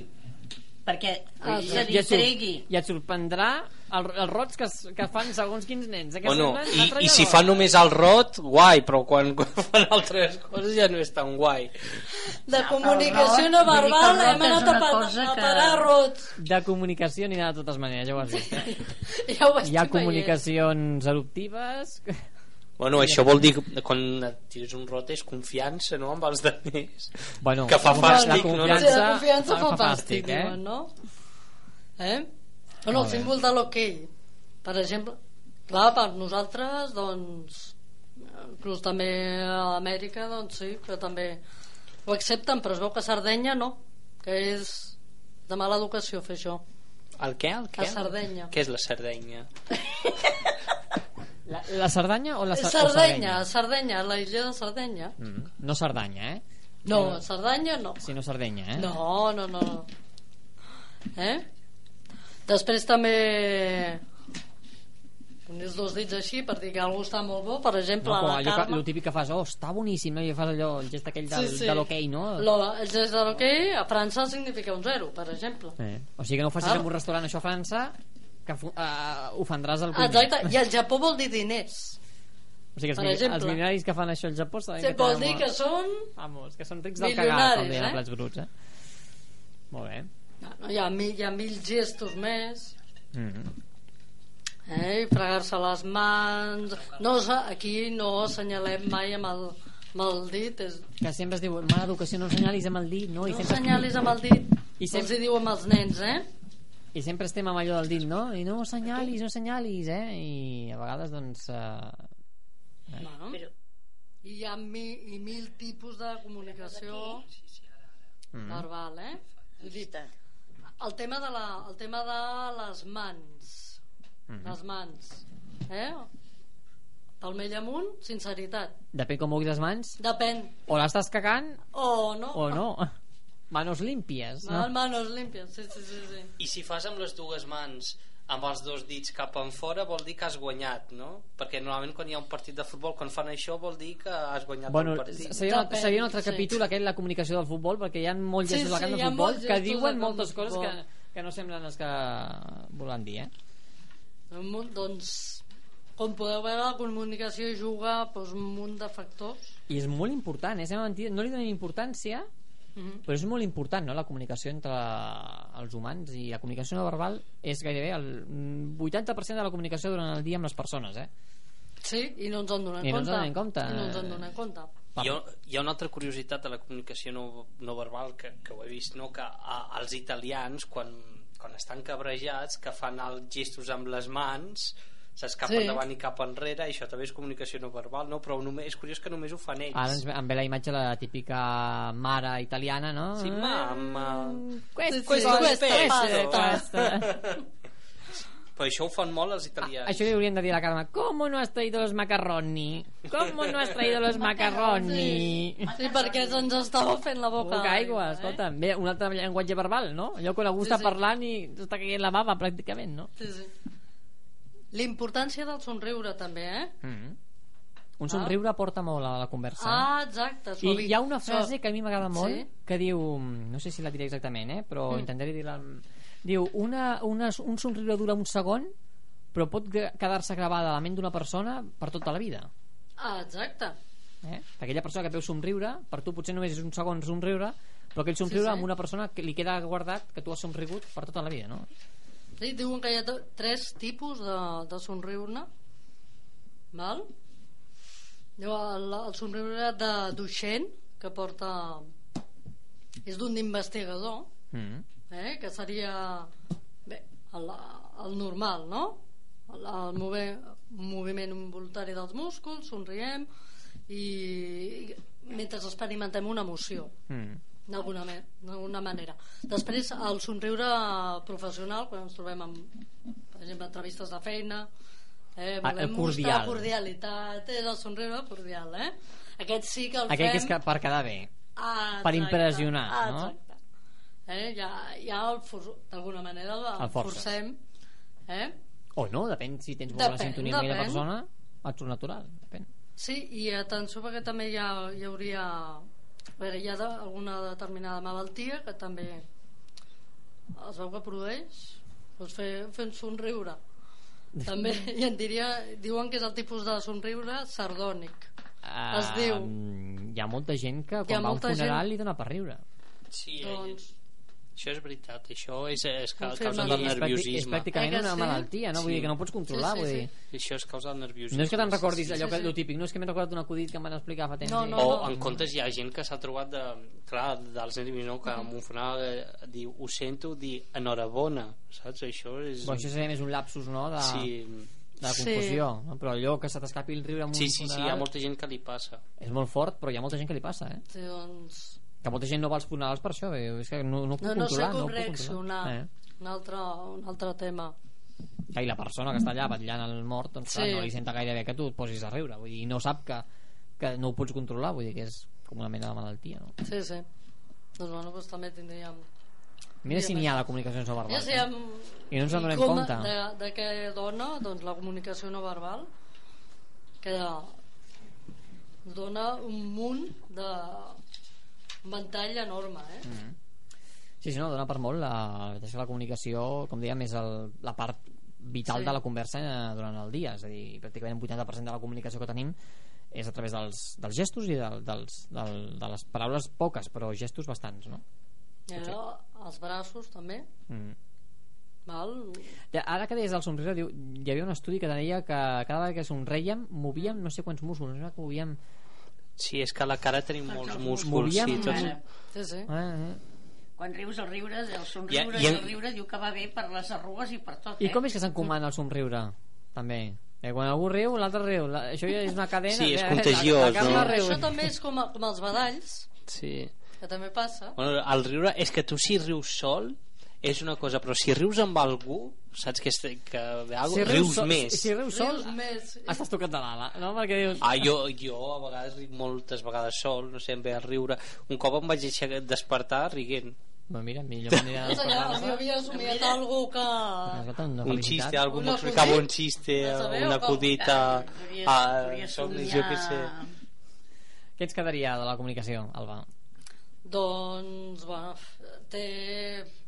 Speaker 3: perquè
Speaker 1: Ah,
Speaker 3: se
Speaker 2: I
Speaker 3: li
Speaker 2: et, sor-
Speaker 3: tregui.
Speaker 2: I et sorprendrà el, els rots que, es- que fan segons quins nens. Aquesta
Speaker 4: Bueno,
Speaker 2: nena,
Speaker 4: i,
Speaker 2: l'altra
Speaker 4: i
Speaker 2: ja
Speaker 4: si
Speaker 2: no.
Speaker 4: fa només el rot, guai, però quan, quan fan altres coses ja no és tan guai.
Speaker 1: De
Speaker 3: No,
Speaker 1: comunicació
Speaker 3: el
Speaker 1: no
Speaker 3: rot, vull
Speaker 1: verbal
Speaker 3: dir que el
Speaker 1: hem
Speaker 3: rot és
Speaker 1: anat a,
Speaker 3: una
Speaker 1: pa,
Speaker 3: cosa
Speaker 1: a
Speaker 3: que-
Speaker 1: parar rots.
Speaker 2: De comunicació n'hi ha de totes maneres, ja ho has vist. Eh?
Speaker 1: Ja ho estic
Speaker 2: Hi ha
Speaker 1: veient.
Speaker 2: comunicacions eruptives...
Speaker 4: Bueno, això vol dir que quan et tires un rot és confiança, no?, amb els altres.
Speaker 2: Bueno,
Speaker 4: Que fa
Speaker 2: la
Speaker 4: fàstic, no?
Speaker 1: Sí,
Speaker 2: confiança,
Speaker 1: la confiança fa, fàstic,
Speaker 2: eh?
Speaker 1: diuen, no? Eh? Bueno,
Speaker 2: Molt
Speaker 1: el
Speaker 2: bé.
Speaker 1: símbol de l'hoquei, per exemple, clar, per nosaltres, doncs, inclús també a Amèrica, doncs sí, que també ho accepten, però es veu que a Sardenya no, que és de mala educació fer això.
Speaker 4: El què? El què?
Speaker 1: La Sardenya.
Speaker 4: Què és la Sardenya?
Speaker 2: La, la Cerdanya o la Sar- o
Speaker 1: Sardenya, Sardenya, la illa de Sardenya.
Speaker 2: Mm, no Cerdanya, eh?
Speaker 1: No, Sardenya no.
Speaker 2: Sinó Sardenya, eh?
Speaker 1: No, no, no. no. Eh? Després també tenies dos dits així per dir que algú està molt bo, per exemple,
Speaker 2: No, com
Speaker 1: la
Speaker 2: allò que,
Speaker 1: Carme...
Speaker 2: el típic que fas, oh, està boníssim, no? I fas allò, el gest aquell del,
Speaker 1: Sí, sí.
Speaker 2: de l'hoquei, no?
Speaker 1: Lo, el gest de l'hoquei a França significa un zero, per exemple.
Speaker 2: Eh. O sigui que no ho facis
Speaker 1: Ah.
Speaker 2: en un restaurant això a França, que fu- eh, ofendràs el cuiner.
Speaker 1: Ah, Exacte, i al Japó vol dir diners.
Speaker 2: O sigui, els,
Speaker 1: Per
Speaker 2: mi-
Speaker 1: exemple.
Speaker 2: els milionaris que fan això al Japó saben
Speaker 1: Sí,
Speaker 2: que
Speaker 1: vol
Speaker 2: tenen
Speaker 1: dir
Speaker 2: molt-
Speaker 1: que són...
Speaker 2: Vamos, que són rics del cagar, com
Speaker 1: Milionaris,
Speaker 2: deien
Speaker 1: eh?
Speaker 2: eh? plats bruts, eh? Molt bé.
Speaker 1: Ah, No, no, hi, ha mil, hi ha mil gestos més.
Speaker 2: Mm.
Speaker 1: Eh, i fregar-se les mans... No, se- aquí no assenyalem mai amb el, amb el dit. És...
Speaker 2: Que sempre es diu, mala educació, no senyalis amb el dit, no? I
Speaker 1: No
Speaker 2: sempre,
Speaker 1: assenyalis amb el dit.
Speaker 2: I
Speaker 1: I
Speaker 2: sempre-
Speaker 1: sempre... Els hi diu amb els nens, eh?
Speaker 2: I sempre estem amb allò del dit, no? I no senyalis, no senyalis, eh? I a vegades, doncs... Eh...
Speaker 1: Bueno.
Speaker 3: Però-
Speaker 1: I hi ha mi, i mil tipus de comunicació
Speaker 2: Mm.
Speaker 1: verbal, eh? Vull dir, El tema de, la, el tema de les mans.
Speaker 2: Mm-hmm.
Speaker 1: Les mans. Eh? Palmell amunt, sinceritat.
Speaker 2: Depèn com moguis les mans,
Speaker 1: Depèn.
Speaker 2: o l'estàs cagant
Speaker 1: O no.
Speaker 2: o no. Manos límpies, no?
Speaker 1: Mal, manos limpias. Sí, sí, sí, sí.
Speaker 4: I si fas amb les dues mans amb els dos dits cap en fora vol dir que has guanyat, no? Perquè normalment quan hi ha un partit de futbol, quan fan això vol dir que has guanyat
Speaker 2: Bueno,
Speaker 4: el partit.
Speaker 2: seria, un,
Speaker 1: Depèn,
Speaker 2: seria un altre
Speaker 1: sí.
Speaker 2: capítol aquest, la comunicació del futbol, perquè hi ha molts
Speaker 1: Sí, sí,
Speaker 2: gestos al
Speaker 1: hi
Speaker 2: camp de
Speaker 1: ha
Speaker 2: futbol
Speaker 1: molts
Speaker 2: que
Speaker 1: gestos al
Speaker 2: diuen
Speaker 1: camp de
Speaker 2: moltes coses que,
Speaker 1: futbol.
Speaker 2: que no semblen les que volen dir, eh?
Speaker 1: Un munt, doncs, com podeu veure, la comunicació juga doncs, un munt de factors.
Speaker 2: I és molt important, eh? Sembla mentida, no li donem importància,
Speaker 1: Mhm.
Speaker 2: però és molt important, no?, la comunicació entre els humans i la comunicació no verbal és gairebé el mm, 80% de la comunicació durant el dia amb les persones, eh?
Speaker 1: Sí, i no ens en donem
Speaker 2: I no
Speaker 1: compte.
Speaker 2: ens en donem compte. Eh.
Speaker 1: I no ens en donem compte.
Speaker 2: Parla.
Speaker 4: Hi ha, hi ha una altra curiositat de la comunicació no, no verbal que, que ho he vist, no? que a, els italians quan, quan estan cabrejats que fan els gestos amb les mans s'escapen
Speaker 1: Sí.
Speaker 4: sí. davant i cap enrere i això també és comunicació no verbal no? però només, és curiós que només ho fan ells
Speaker 2: Ara ens ve- em ve la imatge de la típica mare italiana, no?
Speaker 4: Sí, mamma.
Speaker 2: Questo,
Speaker 1: Sí, questo,
Speaker 2: questo,
Speaker 1: questo,
Speaker 2: questo.
Speaker 4: però això ho fan molt els italians
Speaker 2: Ah, Això li haurien de dir a la Carme, ¿cómo no has traído los macarroni? ¿Cómo no has traído los macarroni?
Speaker 1: Sí, perquè ens estava fent la boca.
Speaker 2: Poca aigua, escolta. Bé, un altre llenguatge verbal, no? Allò que algú
Speaker 1: eh? Sí,
Speaker 2: està
Speaker 1: sí.
Speaker 2: parlant i està caient la bava, pràcticament, no?
Speaker 1: Sí, sí. L'importància del somriure, també, eh?
Speaker 2: Mm. Un somriure aporta molt a la conversa.
Speaker 1: Ah, exacte.
Speaker 2: I
Speaker 1: suavi-
Speaker 2: hi ha una
Speaker 1: suavi-
Speaker 2: frase que a mi m'agrada molt
Speaker 1: Sí?
Speaker 2: que diu, no sé si la diré exactament eh, però mm. intentaré dir-la diu, una, una, un somriure dura un segon però pot gra- quedar-se gravada a la ment d'una persona per tota la vida
Speaker 1: Ah, exacte.
Speaker 2: eh? aquella persona que et veu somriure per tu potser només és un segon somriure però aquell somriure
Speaker 1: sí.
Speaker 2: amb una persona que li queda guardat que tu has somrigut per tota la vida no?
Speaker 1: Sí, diuen que hi ha do- tres tipus de, de somriure. Val? Diu el, el somriure de docent, que porta... És d'un investigador,
Speaker 2: Mm.
Speaker 1: eh? que seria bé, el, el normal, no? El, el move, moviment involuntari dels músculs, somriem i, i mentre experimentem una emoció
Speaker 2: Mm.
Speaker 1: d'alguna me- d'alguna manera després el somriure professional quan ens trobem amb per exemple entrevistes de feina eh,
Speaker 2: Ah, el
Speaker 1: volem
Speaker 2: cordial.
Speaker 1: mostrar cordialitat és el somriure cordial eh? aquest sí que el
Speaker 2: aquell
Speaker 1: Doncs fem
Speaker 2: que és que per quedar bé
Speaker 1: Ah,
Speaker 2: per
Speaker 1: exacte,
Speaker 2: impressionar,
Speaker 1: ah,
Speaker 2: no?
Speaker 1: exacte. eh, ja, ja el for- d'alguna manera el,
Speaker 2: El forces.
Speaker 1: forcem eh?
Speaker 2: o no, depèn si tens molt bona
Speaker 1: Depèn,
Speaker 2: sintonia amb aquella
Speaker 1: depèn.
Speaker 2: persona et surt natural depèn.
Speaker 1: Sí, i atenció perquè també hi, ha, hi hauria... A veure, hi ha de, alguna determinada malaltia que també es veu que produeix doncs fer, fent somriure. També, i en diria, diuen que és el tipus de somriure sardònic.
Speaker 2: Ah,
Speaker 1: Es diu.
Speaker 2: mm, hi ha molta gent que
Speaker 1: Hi
Speaker 2: quan
Speaker 1: ha
Speaker 2: va a un
Speaker 1: molta
Speaker 2: funeral
Speaker 1: gent-
Speaker 2: li dona per riure
Speaker 4: Sí, doncs...
Speaker 1: Doncs,
Speaker 4: això és veritat, això és, és ca-
Speaker 1: Confirma.
Speaker 4: causa
Speaker 1: I és
Speaker 2: és,
Speaker 4: del
Speaker 2: practi- és
Speaker 4: nerviosisme.
Speaker 2: pràcticament
Speaker 1: Eh que
Speaker 2: una
Speaker 1: sí?
Speaker 2: malaltia no? vull
Speaker 4: Sí.
Speaker 2: dir que no pots controlar
Speaker 1: Sí, sí,
Speaker 2: vull dir.
Speaker 1: sí.
Speaker 4: Això és causa del nerviosisme.
Speaker 2: no és que te'n recordis
Speaker 1: sí,
Speaker 2: allò
Speaker 1: sí,
Speaker 2: que
Speaker 1: sí.
Speaker 2: lo típic no és que m'he recordat un acudit que m'han explicat fa temps
Speaker 1: No,
Speaker 2: i-
Speaker 1: no,
Speaker 4: O
Speaker 1: no.
Speaker 4: en comptes hi ha gent que s'ha trobat de, clar, dels nervis, no? que
Speaker 2: Mm-hmm.
Speaker 4: en un funeral eh, diu, ho sento, dir enhorabona, saps? Això és...
Speaker 2: Bueno, ah. això seria més un lapsus no? de,
Speaker 4: sí,
Speaker 2: de
Speaker 1: Sí.
Speaker 2: confusió no? però allò que se t'escapi el riure en un
Speaker 4: sí, sí, sí, hi ha
Speaker 2: funeral
Speaker 4: molta gent que li passa.
Speaker 2: és molt fort però hi ha molta gent que li passa eh?
Speaker 1: sí, doncs
Speaker 2: que molta gent no va als funerals per això eh? és que no, no ho puc
Speaker 1: no, no sé
Speaker 2: controlar
Speaker 1: com
Speaker 2: no ho puc
Speaker 1: reaccionar.
Speaker 2: controlar. Eh?
Speaker 1: Un, altre, un altre tema.
Speaker 2: Ah, i la persona que està allà vetllant el mort doncs, clar,
Speaker 1: Sí.
Speaker 2: no li senta gaire bé que tu et posis a riure vull dir, i no sap que, que no ho pots controlar vull dir que és com una mena de malaltia no?
Speaker 1: Sí, sí. Doncs, bueno, doncs també tindríem...
Speaker 2: mira si n'hi ha de comunicació no verbal
Speaker 1: Ja sé, amb...
Speaker 2: I no ens en
Speaker 1: i
Speaker 2: donem
Speaker 1: com-
Speaker 2: compte.
Speaker 1: De, de què dona doncs, la comunicació no verbal, que dona un munt de un ventall enorme, eh? Mm.
Speaker 2: sí, sí, no, dona per molt la, la, veritat és que la comunicació com dèiem és el, la part vital
Speaker 1: Sí.
Speaker 2: sí. de la conversa eh, durant el dia és a dir, pràcticament un 80% de la comunicació que tenim és a través dels, dels gestos i del, dels, del, de les paraules poques però gestos bastants no?
Speaker 1: I ara, els braços també,
Speaker 2: mm.
Speaker 1: val?
Speaker 2: Ja, Ara que deies del somriure, diu, hi havia un estudi que deia que cada vegada que somreiem movíem no sé quants músculs, no sé que movíem...
Speaker 4: Sí, és que a la cara tenim molts músculs.
Speaker 2: movíem-
Speaker 4: Sí, tots...
Speaker 3: Ara,
Speaker 1: Sí, sí.
Speaker 2: Eh, eh.
Speaker 3: quan rius el riure, el somriure
Speaker 4: I- i
Speaker 3: i
Speaker 4: en-
Speaker 3: el riure diu que va bé per les arrugues i per tot,
Speaker 2: I
Speaker 3: eh?
Speaker 2: com és que s'encomana el somriure? També. Eh, quan algú riu, l'altre riu. La, això ja és una cadena.
Speaker 4: Sí, és
Speaker 2: eh,
Speaker 4: contagiós,
Speaker 2: la, la Carla
Speaker 4: no?
Speaker 2: riu.
Speaker 1: Això també és com, com els badalls,
Speaker 4: Sí.
Speaker 1: que també passa.
Speaker 4: Bueno, el riure és que tu si rius sol és una cosa, però si rius amb algú saps que, este, que ve algo,
Speaker 2: Si rius
Speaker 4: rius,
Speaker 2: sol-
Speaker 4: més.
Speaker 2: Si rius sol,
Speaker 1: Rius més.
Speaker 2: estàs tocat de l'ala, no? Perquè dius...
Speaker 4: Ah, jo, jo a vegades ric moltes vegades sol, no sé, em ve a riure. Un cop em vaig aixecar- despertar rient.
Speaker 2: Bueno, mira, millor manera de
Speaker 1: No sé, ja,
Speaker 2: parlar.
Speaker 1: si havia somiat algú que...
Speaker 2: Escolta, una
Speaker 4: un
Speaker 2: felicitat.
Speaker 4: xiste, algú
Speaker 1: Un
Speaker 4: m'ho
Speaker 1: acudit.
Speaker 4: explicava un xiste,
Speaker 1: Ja sabeu,
Speaker 4: un
Speaker 1: com- eh,
Speaker 4: acudit a,
Speaker 3: Podries-
Speaker 4: a,
Speaker 3: podries
Speaker 4: somnis, jo
Speaker 3: somiar-
Speaker 4: què sé.
Speaker 2: Què ens quedaria de la comunicació, Alba?
Speaker 1: Doncs, bueno, té...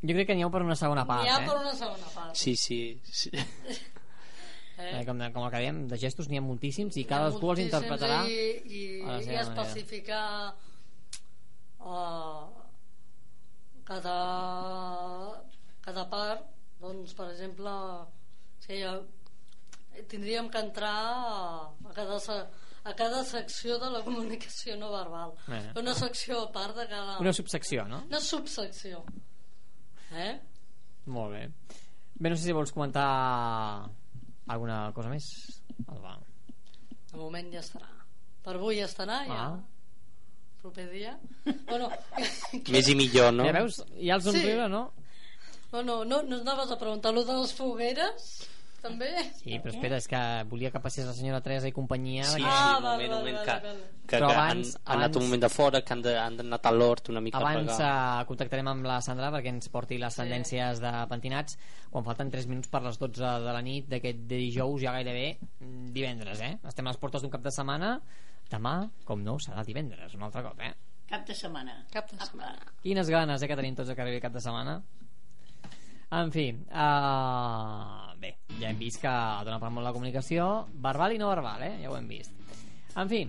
Speaker 2: Jo crec que n'hi ha per una segona part,
Speaker 1: Hi ha
Speaker 2: eh?
Speaker 1: per una segona part.
Speaker 4: Sí, sí, sí.
Speaker 2: Eh, com, com el que dèiem, de gestos n'hi ha moltíssims i cadascú els
Speaker 1: Moltíssims
Speaker 2: interpretarà
Speaker 1: i, i,
Speaker 2: a la
Speaker 1: i
Speaker 2: seva
Speaker 1: especificar uh, cada cada part doncs per exemple si ja, tindríem que entrar a cada, se- a cada secció de la comunicació no verbal
Speaker 2: Eh.
Speaker 1: una secció a part de cada
Speaker 2: una subsecció, no?
Speaker 1: una subsecció eh?
Speaker 2: Molt bé. Bé, no sé si vols comentar alguna cosa més. Alba.
Speaker 1: de moment ja estarà per avui ja estarà ja
Speaker 2: Ah.
Speaker 1: proper dia bueno,
Speaker 4: Més i millor, no?
Speaker 2: No? Ja veus? Ja els
Speaker 1: Sí.
Speaker 2: somriure, no?
Speaker 1: No, no, no, no anaves a preguntar lo de les fogueres? també?
Speaker 2: Sí, però espera, és que volia que passés la senyora Teresa i companyia.
Speaker 4: Sí, sí,
Speaker 2: que
Speaker 1: Ah,
Speaker 4: un
Speaker 1: val,
Speaker 4: moment,
Speaker 1: val,
Speaker 4: un moment
Speaker 1: val,
Speaker 4: que,
Speaker 1: val.
Speaker 4: que,
Speaker 2: Però
Speaker 4: que
Speaker 2: abans-
Speaker 4: han, han anat un
Speaker 2: abans-
Speaker 4: moment de fora, que han, de, han anat a l'hort una mica
Speaker 2: Abans eh,
Speaker 4: a plegar.
Speaker 2: contactarem amb la Sandra perquè ens porti les tendències de pentinats quan falten 3 minuts per les 12 de la nit d'aquest dijous ja gairebé mm, divendres, eh? Estem a les portes d'un cap de setmana demà, com no, serà divendres un altre cop, eh?
Speaker 3: Cap de setmana. ah,
Speaker 1: Cap de setmana.
Speaker 2: Quines ganes, eh, que tenim tots de que arribi cap de setmana. En fi, uh, bé, ja hem vist que dona per molt la comunicació, verbal i no verbal, eh? Ja ho hem vist. En fi,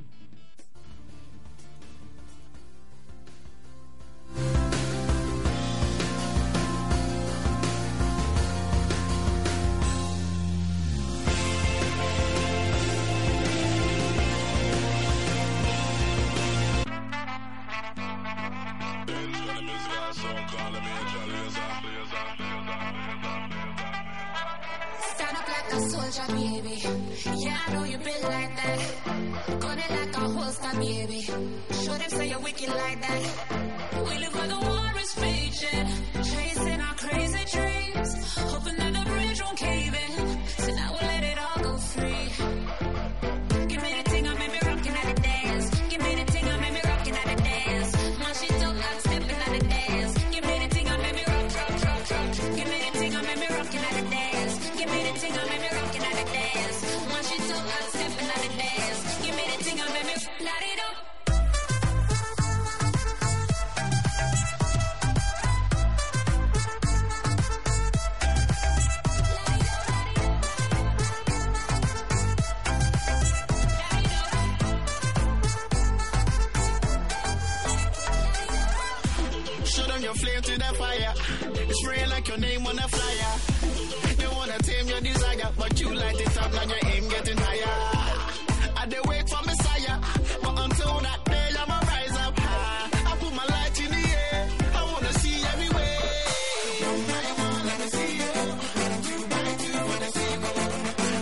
Speaker 5: Stand up like a soldier, baby. Yeah, I know you built like that. Gun it like a holster, baby. Show them say you're wicked like that. We live where the war is raging, chasing our crazy dreams, hoping that the bridge won't cave in. So now we'll let it all go free. Give me the thing, I made me rocking at the dance. Give me the thing, I made me rocking at the dance. Now she don't like stepping at the dance. Give me the thing, I made me rock, rock, rock, rock. Give me the thing, I made me rocking at the dance. Give me the thing, I made me rocking at the dance. Now she don't like stepping at the dance. Give me the thing, I made me light it up.
Speaker 6: Show them your flame to the fire. Spray like your name on a flyer. They wanna tame your desire, but you light it up, now your aim getting higher. I they wait for Messiah, but until that day I'ma rise up high. I put my light in the air. I wanna see everywhere. One by one, let me see you. Two by two, wanna see you.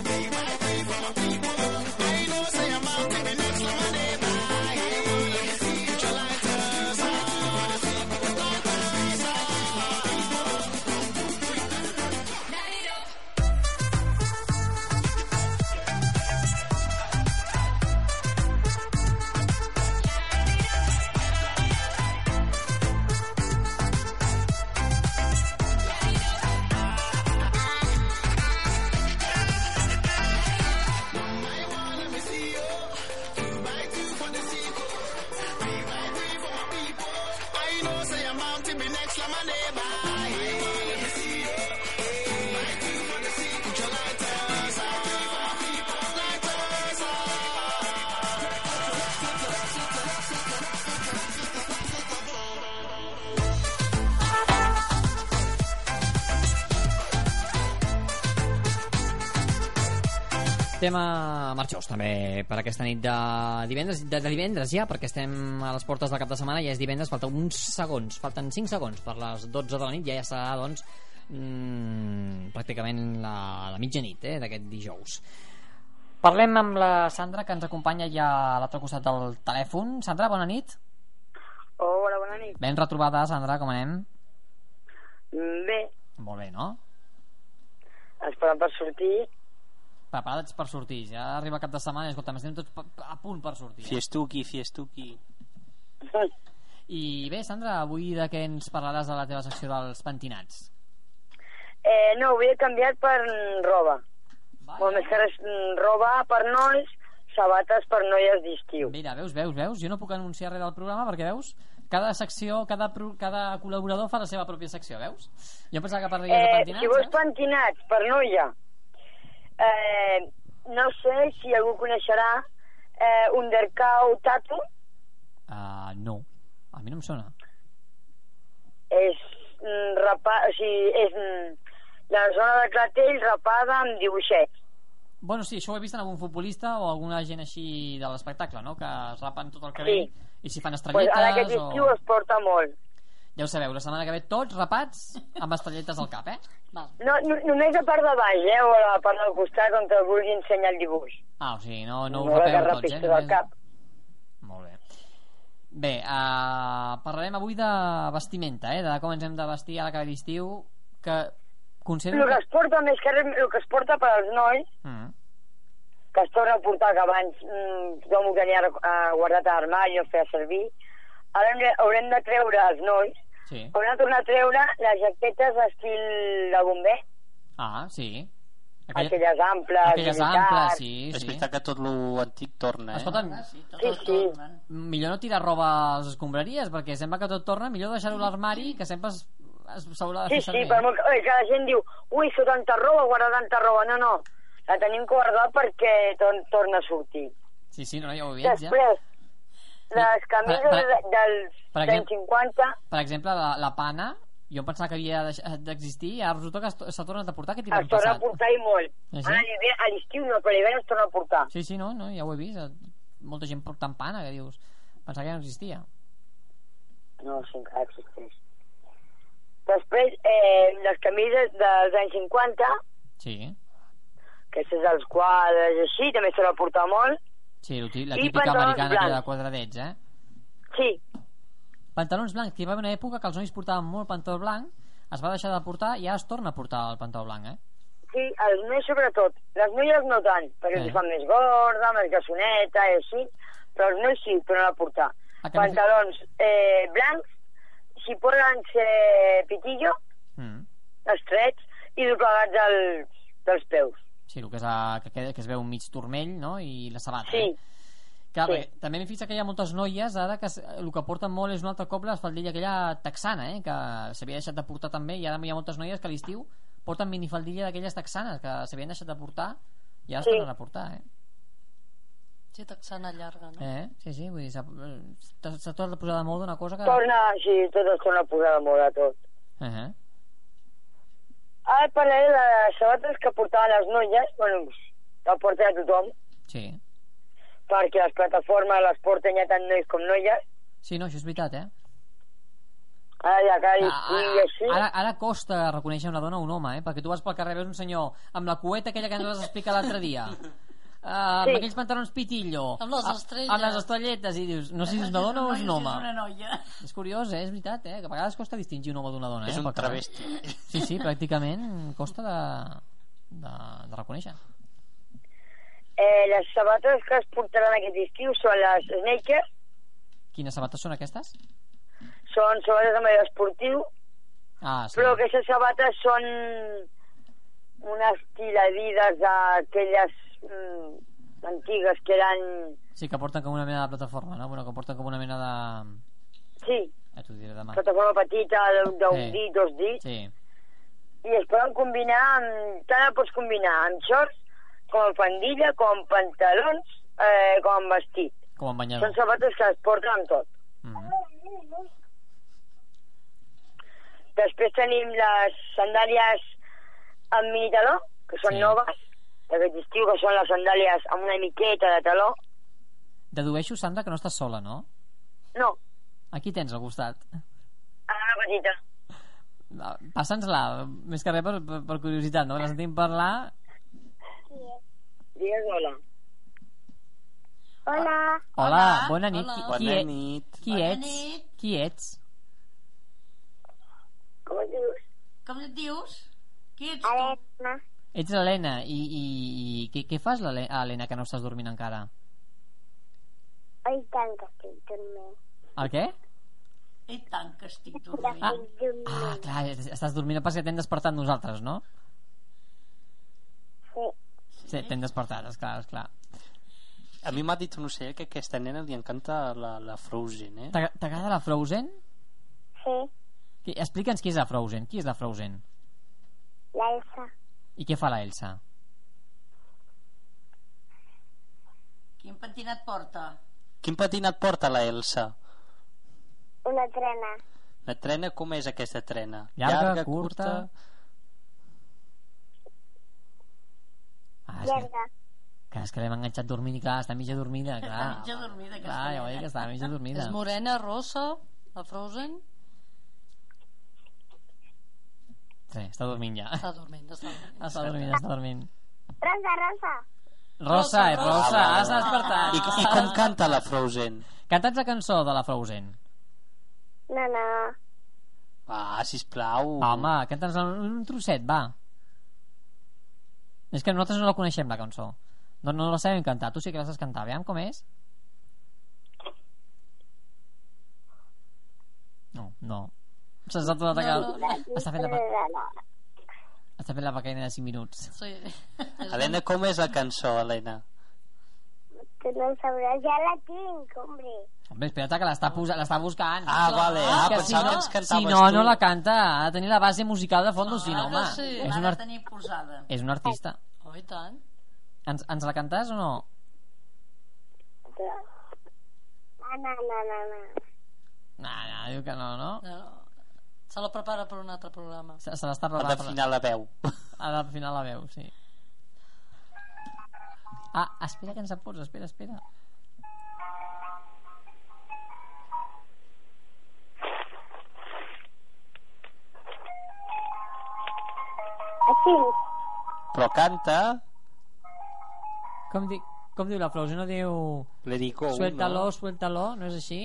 Speaker 6: Three by three, for my people. I know say I'm out to the next level, neighbor. Let me see you, your lighters up.
Speaker 5: Light it up.
Speaker 6: I know say I'm out to be next like my neighbor.
Speaker 2: tema marxós també per aquesta nit de divendres, de, de divendres ja, perquè estem a les portes del cap de setmana, ja és divendres, falten uns segons, falten 5 segons per les 12 de la nit, ja, ja serà, doncs, mm, pràcticament la, la mitjanit eh, d'aquest dijous. Parlem amb la Sandra, que ens acompanya ja a l'altre costat del telèfon. Sandra, bona nit.
Speaker 7: Hola, bona nit.
Speaker 2: Ben retrobada, Sandra, com anem?
Speaker 7: Mm, Bé,
Speaker 2: Molt bé, no?
Speaker 7: esperant per sortir.
Speaker 2: Preparats per sortir, ja arriba cap de setmana i escolta, estem tots pa- a punt per sortir. eh?
Speaker 4: Fiestuki, fiestuki.
Speaker 2: I bé, Sandra, avui de què ens parlaràs a la teva secció dels pentinats?
Speaker 7: Eh, no, avui he canviat per mm, roba. Molt més que res, mm, roba per nois, sabates per noies d'estiu.
Speaker 2: Mira, veus, veus, veus? Jo no puc anunciar res del programa perquè, veus, cada secció, cada, pro, cada col·laborador fa la seva pròpia secció, veus? Jo em pensava que parlaries de
Speaker 7: Eh,
Speaker 2: pentinats,
Speaker 7: si vols pentinats per noia, eh, no sé si algú coneixerà eh, Undercow Tatu.
Speaker 2: Uh, no, a mi no em sona.
Speaker 7: És, mm, rapa, o sigui, és mm, la zona de clatell rapada amb dibuixets.
Speaker 2: Bueno, sí, això ho he vist en algun futbolista o alguna gent així de l'espectacle, no? Que es rapen tot el cabell
Speaker 7: Sí.
Speaker 2: i s'hi fan
Speaker 7: Pues
Speaker 2: estrelletes
Speaker 7: ara aquest estiu
Speaker 2: o...
Speaker 7: es porta molt.
Speaker 2: Ja ho sabeu, la setmana que ve tots rapats amb estrelletes al cap, eh?
Speaker 1: Val.
Speaker 7: No, no, només la part de baix, eh, o la part del costat on te vulgui ensenyar el dibuix.
Speaker 2: Ah, o sigui, no, no,
Speaker 7: No,
Speaker 2: us
Speaker 7: la que
Speaker 2: rapeu tots,
Speaker 7: rapis
Speaker 2: eh?
Speaker 7: tot el cap.
Speaker 2: Molt bé. Bé, eh? uh, parlarem avui de vestimenta, eh? de com ens hem de vestir ara que ve l'estiu, que Considero
Speaker 7: El que es porta més que res, el que es porta per als nois,
Speaker 2: Mm.
Speaker 7: que es torna a portar, que abans mm, tothom ho tenia eh, guardat a l'armari o feia servir, ara hem de- haurem de treure als nois,
Speaker 2: Sí.
Speaker 7: haurem de tornar a treure les jaquetes estil de bomber,
Speaker 2: Ah, sí.
Speaker 7: aquelles amples,
Speaker 2: aquelles amples,
Speaker 7: militars.
Speaker 2: sí,
Speaker 4: Sí, És
Speaker 2: sí.
Speaker 4: veritat que tot l'antic torna, eh?
Speaker 2: Escolta'm,
Speaker 3: Ah, sí, tot
Speaker 7: Sí,
Speaker 3: el
Speaker 7: sí.
Speaker 3: tornen.
Speaker 2: millor no tirar roba a les escombraries, perquè sembla que tot torna, millor deixar-ho a l'armari, que sempre es, es s'haurà de
Speaker 7: Sí,
Speaker 2: fer
Speaker 7: sí,
Speaker 2: servir.
Speaker 7: per molt que, oi, que la gent diu ui, sou tanta roba, guarda tanta roba. No, no, la tenim que guardar perquè tor torna a sortir.
Speaker 2: Sí, sí, no, ja ho veig, ja.
Speaker 7: Després, les camises
Speaker 2: per-
Speaker 7: de- dels
Speaker 2: per
Speaker 7: anys
Speaker 2: exemple-
Speaker 7: 50,
Speaker 2: Per exemple, la, la pana, jo em pensava que havia deix- eh, d'existir, i ara resulta que es to- s'ha tornat a portar aquest hivern
Speaker 7: es torna a
Speaker 2: passat.
Speaker 7: portar i molt.
Speaker 2: Ah, sí?
Speaker 7: Ara a l'hivern- a l'estiu no, però a l'hivern es torna a portar.
Speaker 2: Sí, sí, no, no, ja ho he vist. eh, Molta gent portant pana, que dius... Pensava que ja no existia.
Speaker 7: No, sí, encara existeix. Després, eh, les camises dels anys 50,
Speaker 2: Sí.
Speaker 7: aquestes dels quadres i així, també se la portar molt.
Speaker 2: Sí, lo tí- la
Speaker 7: I
Speaker 2: típica
Speaker 7: pantalons
Speaker 2: americana aquella de
Speaker 7: blancs.
Speaker 2: quadradets, eh?
Speaker 7: Sí,
Speaker 2: Pantalons blancs, que hi va haver una època que els nois portaven molt pantaló blanc, es va deixar de portar i ara es torna a portar el pantaló blanc, eh?
Speaker 7: Sí, els nois sobretot. Les noies no tant, perquè
Speaker 2: Eh.
Speaker 7: eh. fan més gorda, més grassoneta i així, però els nois sí, tornen a portar.
Speaker 2: Ah, que no sé-
Speaker 7: Pantalons eh, blancs, si posen eh, pitillo,
Speaker 2: Mm.
Speaker 7: estrets i doblegats dels, dels peus.
Speaker 2: Sí, el que, és a, que, queda, que es veu un mig turmell, no?, i la sabata.
Speaker 7: Sí,
Speaker 2: Eh? Clar,
Speaker 7: sí.
Speaker 2: perquè també m'he fixat que hi ha moltes noies ara que es- el que porten molt és un altre cop l'espaldilla aquella texana, eh? que s'havia deixat de portar també, i ara hi ha moltes noies que a l'estiu porten minifaldilla d'aquelles texanes que s'havien deixat de portar i ara
Speaker 7: Sí.
Speaker 2: es tornen a portar, eh?
Speaker 1: Sí, texana llarga, no?
Speaker 2: eh? Sí, sí, vull dir, s'ha s'ha- s'ha tornat a posar de moda una cosa que...
Speaker 7: torna, sí, tot es torna a posar de moda tot.
Speaker 2: Uh -huh.
Speaker 7: Ara parlaré de les sabates que portaven les noies, bueno, que porta a tothom,
Speaker 2: Sí.
Speaker 7: perquè les plataformes les porten ja tant nois com noies.
Speaker 2: Sí, no, això és veritat, eh?
Speaker 7: Ara ja cal i
Speaker 2: Ah, Ara,
Speaker 7: així.
Speaker 2: ara, ara costa reconèixer una dona o un home, eh? Perquè tu vas pel carrer, veus un senyor amb la cueta aquella que ens vas explicar l'altre dia. Uh, amb
Speaker 7: Sí.
Speaker 2: aquells pantalons pitillo
Speaker 1: Amb les
Speaker 2: a-
Speaker 1: estrelles.
Speaker 2: amb les estrelletes i dius, no sé si és una dona o és un
Speaker 3: Si és
Speaker 2: home
Speaker 3: una noia.
Speaker 2: és curiós, eh? és veritat eh? que a vegades costa distingir un home d'una dona eh?
Speaker 4: És un
Speaker 2: pel carrer.
Speaker 4: travesti.
Speaker 2: sí, sí, pràcticament costa de, de, de reconèixer
Speaker 7: Eh, les sabates que es portaran aquest estiu són les sneakers,
Speaker 2: quines sabates són aquestes?
Speaker 7: són sabates de manera esportiu,
Speaker 2: ah, sí,
Speaker 7: però aquestes sabates són unes tiradides d'aquelles mm, antigues que eren...
Speaker 2: sí que porten com una mena de plataforma no? bueno, que porten com una mena de...
Speaker 7: Sí,
Speaker 2: ja t'ho diré demà
Speaker 7: plataforma petita d'un d'un
Speaker 2: Ah. Sí.
Speaker 7: dit, dos dits,
Speaker 2: sí,
Speaker 7: i es poden combinar amb... Tant la pots combinar amb shorts, com amb pandilla, com amb pantalons, eh, com amb vestit.
Speaker 2: com en banyador
Speaker 7: Són sabates que es porten amb tot.
Speaker 2: mm.
Speaker 7: Després tenim les sandàlies amb mini taló, que són
Speaker 2: Sí.
Speaker 7: sí. noves, d'aquest estiu, que són les sandàlies amb una miqueta de taló.
Speaker 2: Dedueixo, Sandra, que no estàs sola, no?
Speaker 7: No,
Speaker 2: Aquí tens al costat.
Speaker 7: a la petita.
Speaker 2: Va, Passa'ns-la, més que res per, per, per curiositat, no? La sentim parlar...
Speaker 7: Digues hola.
Speaker 2: Hola,
Speaker 3: Hola,
Speaker 2: bona nit.
Speaker 1: hola.
Speaker 2: Qui,
Speaker 4: Bona
Speaker 2: qui,
Speaker 4: nit.
Speaker 2: qui
Speaker 3: Bona
Speaker 2: ets?
Speaker 3: nit.
Speaker 2: Qui ets?
Speaker 7: Com et dius?
Speaker 3: Com et dius? Qui ets tu?
Speaker 2: Ets l'Helena, i, i, i què, què fas, l'Hele- a l'Helena, que no estàs dormint encara?
Speaker 8: Oi, tant que estic dormint.
Speaker 2: El què?
Speaker 3: I tant que estic dormint.
Speaker 2: Ah,
Speaker 8: Dormint,
Speaker 2: ah clar, es- estàs dormint, el que passa és que t'hem despertat nosaltres, no?
Speaker 8: sí.
Speaker 2: Sí, t'hem despertat, esclar, esclar.
Speaker 4: A mi m'ha dit un ocell que a aquesta nena li encanta la, la Frozen, eh?
Speaker 2: T'agra- T'agrada la Frozen?
Speaker 8: Sí,
Speaker 2: Qui- Explica'ns qui és la Frozen. Qui és la Frozen?
Speaker 8: l'Elsa.
Speaker 2: I què fa la Elsa?
Speaker 3: Quin pentinat porta?
Speaker 4: Quin patinat porta la Elsa?
Speaker 8: Una trena.
Speaker 4: La trena, com és aquesta trena?
Speaker 2: Llarga, curta? Ah, és que-
Speaker 8: Llarga.
Speaker 2: Clar, és que l'hem enganxat dormint i clar, està mitja dormida, clar.
Speaker 3: Està mitja dormida, aquesta
Speaker 2: Clar, ja ho he
Speaker 3: nena.
Speaker 2: dit que està mitja dormida.
Speaker 1: És morena, rossa, la Frozen,
Speaker 2: Sí, està dormint ja.
Speaker 1: està dormint, està dormint.
Speaker 2: Està dormint, està dormint.
Speaker 8: Rosa, Rosa.
Speaker 2: Rosa, és Rosa, ara s'ha
Speaker 4: I, Ah, I
Speaker 2: despertat.
Speaker 4: com canta la Frozen?
Speaker 2: Cantats la cançó de la Frozen.
Speaker 8: No, no.
Speaker 4: Ah, sisplau.
Speaker 2: Home, canta'ns un trosset, va. És que nosaltres no la coneixem, la cançó. No, no la sabem cantar. Tu sí que la saps cantar. Veiem com és. No, no. Se'ns ha tornat a quedar...
Speaker 1: No,
Speaker 2: Està fent la, pe- està fent la pecaina de 5 minuts.
Speaker 1: Sí.
Speaker 4: Helena, com és la cançó, Helena?
Speaker 8: Tú no sabrás, ya la tengo, hombre.
Speaker 2: Hombre, espera't que l'està posa... l'està buscant.
Speaker 4: Ah, vale. Ah,
Speaker 2: Que si
Speaker 4: pensava
Speaker 2: no,
Speaker 4: que ens
Speaker 2: si
Speaker 4: cantaves
Speaker 2: no,
Speaker 4: tu.
Speaker 2: no la canta. Ha de tenir la base musical de fons, si no,
Speaker 1: que
Speaker 2: home.
Speaker 1: sí.
Speaker 2: És,
Speaker 3: L'ha
Speaker 2: un
Speaker 3: de
Speaker 2: art...
Speaker 3: tenir posada.
Speaker 2: és un artista.
Speaker 1: Oh, i tant.
Speaker 2: Ens, ens la cantàs o no?
Speaker 8: No, no, no, no, no.
Speaker 2: No, no, diu que no, no?
Speaker 1: No, no. Eh, Se la prepara per un altre programa.
Speaker 2: Se, se l'està
Speaker 4: Ha
Speaker 2: preparant.
Speaker 4: d'afinar la veu.
Speaker 2: Ara al final la veu, sí. Ah, espera que ens apurs, espera, espera.
Speaker 8: Así.
Speaker 4: Però canta
Speaker 2: Com, di com diu la Flausi? No diu...
Speaker 4: l'Ericou,
Speaker 2: Suéltalo,
Speaker 4: no?
Speaker 2: suéltalo, no és així?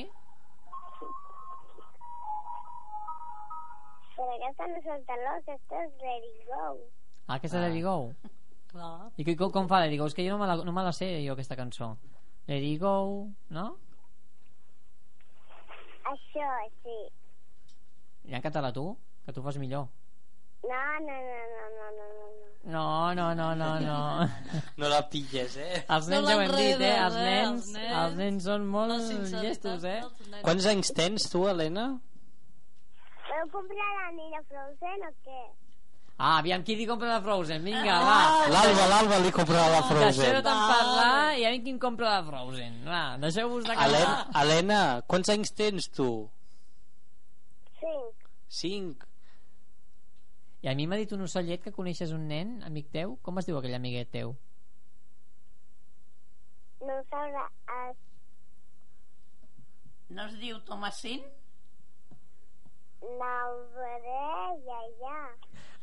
Speaker 8: Pero aquesta no solta lo, aquesta és Ready Go.
Speaker 2: Ah, aquesta ah. Let it go.
Speaker 1: Clar.
Speaker 2: I que- com, com fa Let it go? És que jo no me la, no me la sé, jo, aquesta cançó. Let it go, no?
Speaker 8: Això, Ah, sí.
Speaker 2: I en català tu, que tu fas millor.
Speaker 8: No, no, no, no, no, no, no. no.
Speaker 2: No, no, no, no, no.
Speaker 4: No la pilles, eh?
Speaker 2: els
Speaker 1: No
Speaker 2: nens ja ho hem dit, eh?
Speaker 1: l'enredes,
Speaker 2: Els
Speaker 1: eh, els
Speaker 2: nens,
Speaker 1: nens.
Speaker 2: els nens són molt
Speaker 1: La sinceritat
Speaker 2: llestos, eh?
Speaker 1: dels nens.
Speaker 4: Quants anys tens tu, Helena?
Speaker 8: Podeu comprar l'anella Frozen o què?
Speaker 2: Ah, aviam qui li compra la Frozen, vinga,
Speaker 1: Ah!
Speaker 2: va.
Speaker 4: L'Alba, l'Alba li comprarà la
Speaker 2: Deixeu-ho
Speaker 4: Frozen.
Speaker 2: tant parlar i a mi qui em compra la Frozen. Va, deixeu-vos de
Speaker 4: Helena,
Speaker 2: callar.
Speaker 4: Helena, quants anys tens tu?
Speaker 8: Cinc.
Speaker 4: Cinc.
Speaker 2: I a mi m'ha dit un ocellet que coneixes un nen, amic teu. Com es diu aquell amiguet teu?
Speaker 8: No Ah, sabrà... es-
Speaker 3: No es diu Tomasín?
Speaker 8: No veuré, ja, ja.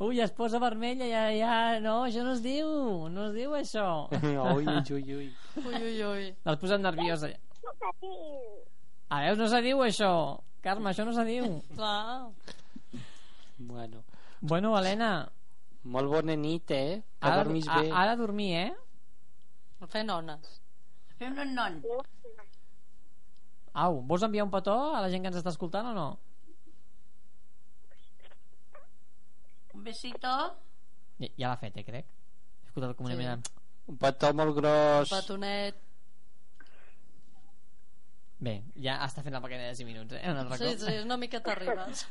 Speaker 2: Ui, es posa vermella, ja, ja... No, això no es diu, no es diu això.
Speaker 4: Ui, ui, ui.
Speaker 1: Ui, ui, ui.
Speaker 2: L'has posat nerviosa.
Speaker 8: Petit.
Speaker 2: A veus, no se diu això. Carme, això no se diu.
Speaker 1: Clar.
Speaker 4: Bueno,
Speaker 2: Bueno, Helena,
Speaker 4: molt bona nit, eh? Que
Speaker 2: ara,
Speaker 4: dormis
Speaker 2: a,
Speaker 4: bé.
Speaker 2: ara a dormir, eh?
Speaker 1: Fent ones.
Speaker 3: Fem un non.
Speaker 2: Au, vols enviar un petó a la gent que ens està escoltant o no?
Speaker 3: Un besito.
Speaker 2: Ja, ja l'ha fet, eh, crec. He escoltat el comunament. Sí.
Speaker 4: Un petó molt gros.
Speaker 1: Petonet.
Speaker 2: Bé, ja està fent la pequena de 5 minuts, eh? Un altre
Speaker 1: Sí,
Speaker 2: cop.
Speaker 1: sí, una mica t'arribes.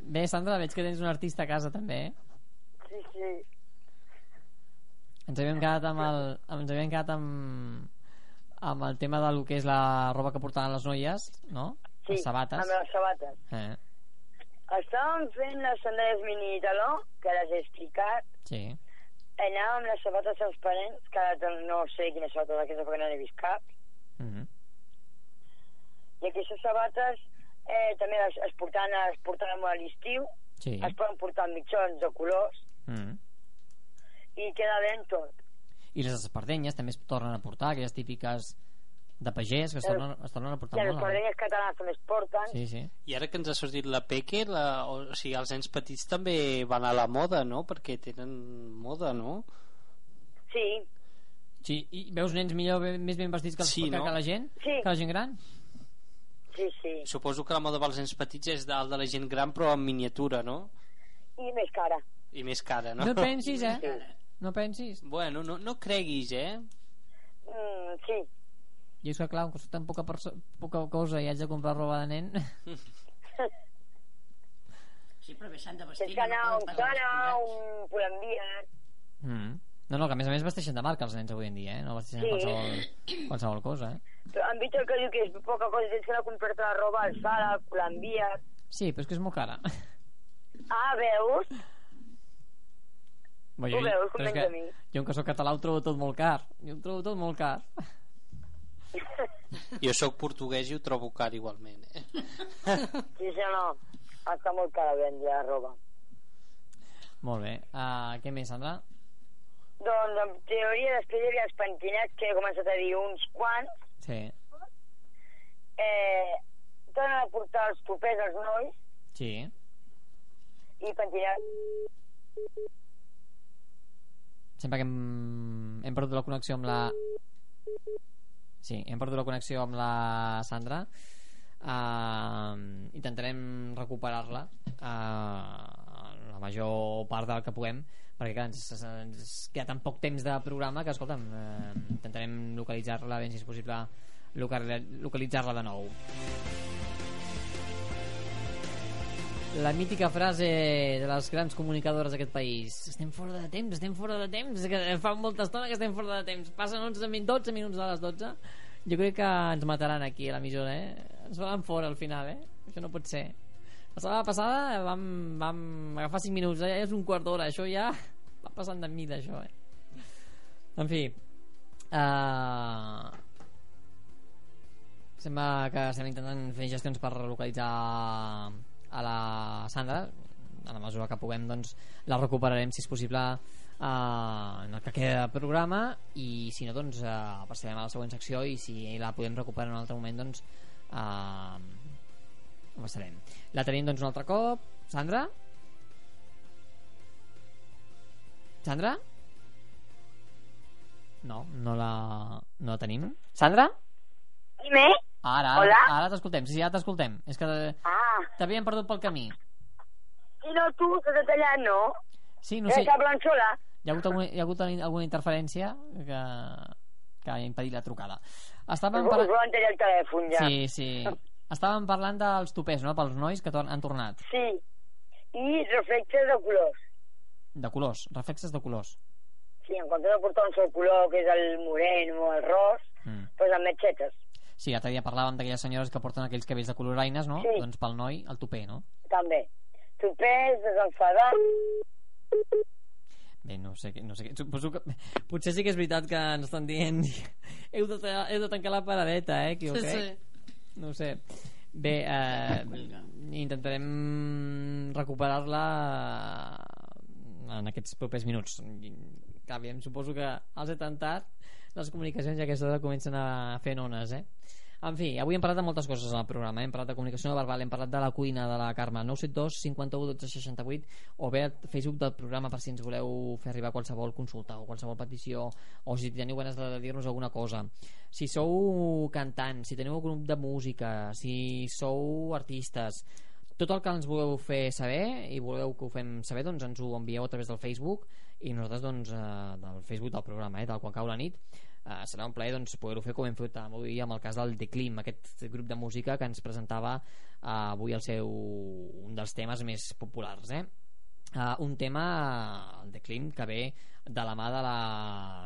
Speaker 2: Bé, Sandra, veig que tens un artista a casa també, eh?
Speaker 7: Sí, sí.
Speaker 2: Ens havíem quedat amb el... Ens havíem quedat amb amb el tema del que és la roba que portaven les noies, no?
Speaker 7: sí.
Speaker 2: les sabates.
Speaker 7: Amb les sabates.
Speaker 2: Eh,
Speaker 7: Estàvem fent les sandales mini taló, que les he explicat,
Speaker 2: sí.
Speaker 7: anàvem amb les sabates als parents, que ara doncs no sé quines sabates aquestes perquè no n'he vist cap,
Speaker 2: Mm -hmm.
Speaker 7: i aquestes sabates eh, també les, es portaven, es portaven molt a l'estiu,
Speaker 2: Sí.
Speaker 7: es poden portar amb mitjons de colors,
Speaker 2: Mm.
Speaker 7: i queda ben tot.
Speaker 2: I les espardenyes també es tornen a portar, aquelles típiques de pagès que es
Speaker 7: El-
Speaker 2: tornen, es tornen a
Speaker 7: I
Speaker 2: portar
Speaker 7: a les
Speaker 2: molt. eh?
Speaker 7: parelles catalanes també es porten,
Speaker 2: Sí,
Speaker 7: sí.
Speaker 2: sí.
Speaker 4: I ara que ens ha sortit la Peque, la, o sigui, els nens petits també van a la moda, no? Perquè tenen moda, no?
Speaker 7: sí,
Speaker 2: Sí, i veus nens millor, ben- més ben vestits que, els,
Speaker 4: Sí,
Speaker 2: que,
Speaker 4: no?
Speaker 2: que la gent?
Speaker 7: Sí.
Speaker 2: Que la gent gran?
Speaker 7: sí, sí.
Speaker 4: Suposo que la moda pels nens petits és del de la gent gran, però en miniatura, no?
Speaker 7: I més cara.
Speaker 4: I més cara, no?
Speaker 2: No pensis, eh? No pensis.
Speaker 4: Bueno, no, no creguis, eh?
Speaker 7: Mm, sí,
Speaker 2: I és que, clar, com soc tan poca, perso- poca cosa i haig de comprar roba de nen...
Speaker 3: Sí, però bé, s'han de vestir.
Speaker 7: tens que anar a
Speaker 3: no
Speaker 7: un
Speaker 3: poden
Speaker 7: cara,
Speaker 3: anar
Speaker 7: a
Speaker 3: vestirats.
Speaker 7: un colombià,
Speaker 2: Mm. No, no, que a més a més vesteixen de marca els nens avui en dia, eh? No vesteixen sí.
Speaker 7: Sí.
Speaker 2: qualsevol, qualsevol cosa, eh?
Speaker 7: Però han vist el que diu que és poca cosa, tens que anar a comprar-te la roba al Zara, al Colòmbia...
Speaker 2: Sí, però és que és molt cara.
Speaker 7: Ah, veus?
Speaker 2: Bé,
Speaker 7: Ho veus, com
Speaker 2: però és
Speaker 7: menys a mi.
Speaker 2: jo, com que soc català, ho trobo tot molt car. Jo ho trobo tot molt car.
Speaker 4: Jo sóc portuguès i ho trobo car igualment, eh?
Speaker 7: Sí, sí, no. Està molt cara vendre la roba.
Speaker 2: Molt bé. Uh, què més, Sandra?
Speaker 7: Doncs, en teoria, després hi havia els pentinats, que he començat a dir uns quants.
Speaker 2: Sí.
Speaker 7: Eh, tornen a portar els topers als nois,
Speaker 2: Sí.
Speaker 7: i pentinat.
Speaker 2: Sembla que hem, hem perdut la connexió amb la... Sí, hem perdut la connexió amb la Sandra. Uh, intentarem recuperar-la uh, la major part del que puguem perquè clar, ens, ens queda tan poc temps de programa que escolta'm uh, intentarem localitzar-la ben si és possible local- localitzar-la de nou La mítica frase de les grans comunicadores d'aquest país. Estem fora de temps, estem fora de temps, que fa molta estona que estem fora de temps. Passen 11 min 12 minuts de les 12. Jo crec que ens mataran aquí a l'emissora, eh? Ens faran fora al final, eh? Això no pot ser. La setmana passada vam, vam agafar 5 minuts, eh? ja és un quart d'hora, això ja va passant de mida, això, eh? En fi, eh... Sembla que estem intentant fer gestions per localitzar a la Sandra a la mesura que puguem doncs, la recuperarem si és possible eh, en el que queda de programa i si no doncs eh, passarem a la següent secció i si la podem recuperar en un altre moment doncs eh, ho passarem la tenim doncs un altre cop Sandra? Sandra? No, no la, no la tenim. Sandra?
Speaker 8: Dime.
Speaker 2: Ara, ara,
Speaker 8: Hola?
Speaker 2: ara t'escoltem. Sí, sí, ara t'escoltem. És que eh,
Speaker 7: Ah,
Speaker 2: t'havíem perdut pel camí.
Speaker 7: i no tu, que t'ha tallat, no?
Speaker 2: Sí, no
Speaker 7: no sé.
Speaker 2: sé,
Speaker 7: Està blanxola.
Speaker 2: hi ha hagut, alguna, hi ha hagut alguna interferència que, que ha impedit la trucada. Estàvem
Speaker 7: Us us
Speaker 2: parlant...
Speaker 7: volen tallar el telèfon, ja.
Speaker 2: Ah, Sí, sí. Estàvem parlant dels topers, no?, pels nois que tor han tornat.
Speaker 7: Sí. I reflexes de colors.
Speaker 2: De colors, reflexes de colors.
Speaker 7: Sí, en comptes de portar un sol color, que és el moreno o el ros,
Speaker 2: Mm.
Speaker 7: pues amb metxetes.
Speaker 2: Sí, l'altre dia parlàvem d'aquelles senyores que porten aquells cabells de coloraines, no?
Speaker 7: Sí.
Speaker 2: Doncs pel noi, el topé, no?
Speaker 7: També. Tupès, desenfadat...
Speaker 2: Bé, no sé, què- no sé què. Suposo que... Potser sí que és veritat que ens estan dient heu de, ta- heu de tancar la paradeta, eh? Que jo crec. No ho sé. Bé, eh, intentarem recuperar-la en aquests propers minuts. Aviam, suposo que als he tentat les comunicacions ja a aquesta hora comencen a fer ones, eh? En fi, avui hem parlat de moltes coses al programa. Hem parlat de comunicació no verbal, hem parlat de la cuina de la Carme. 972 51 12 68 o bé al Facebook del programa per si ens voleu fer arribar qualsevol consulta o qualsevol petició o si teniu ganes de dir-nos alguna cosa. Si sou cantant, si teniu un grup de música, si sou artistes, tot el que ens voleu fer saber i voleu que ho fem saber doncs ens ho envieu a través del Facebook i nosaltres doncs eh, del Facebook del programa eh, del Quan cau la nit eh, serà un plaer doncs, poder-ho fer com hem fet avui amb el cas del Declim aquest grup de música que ens presentava eh, avui el seu, un dels temes més populars eh? Uh, un tema, eh, el de Klim, que ve de la mà de la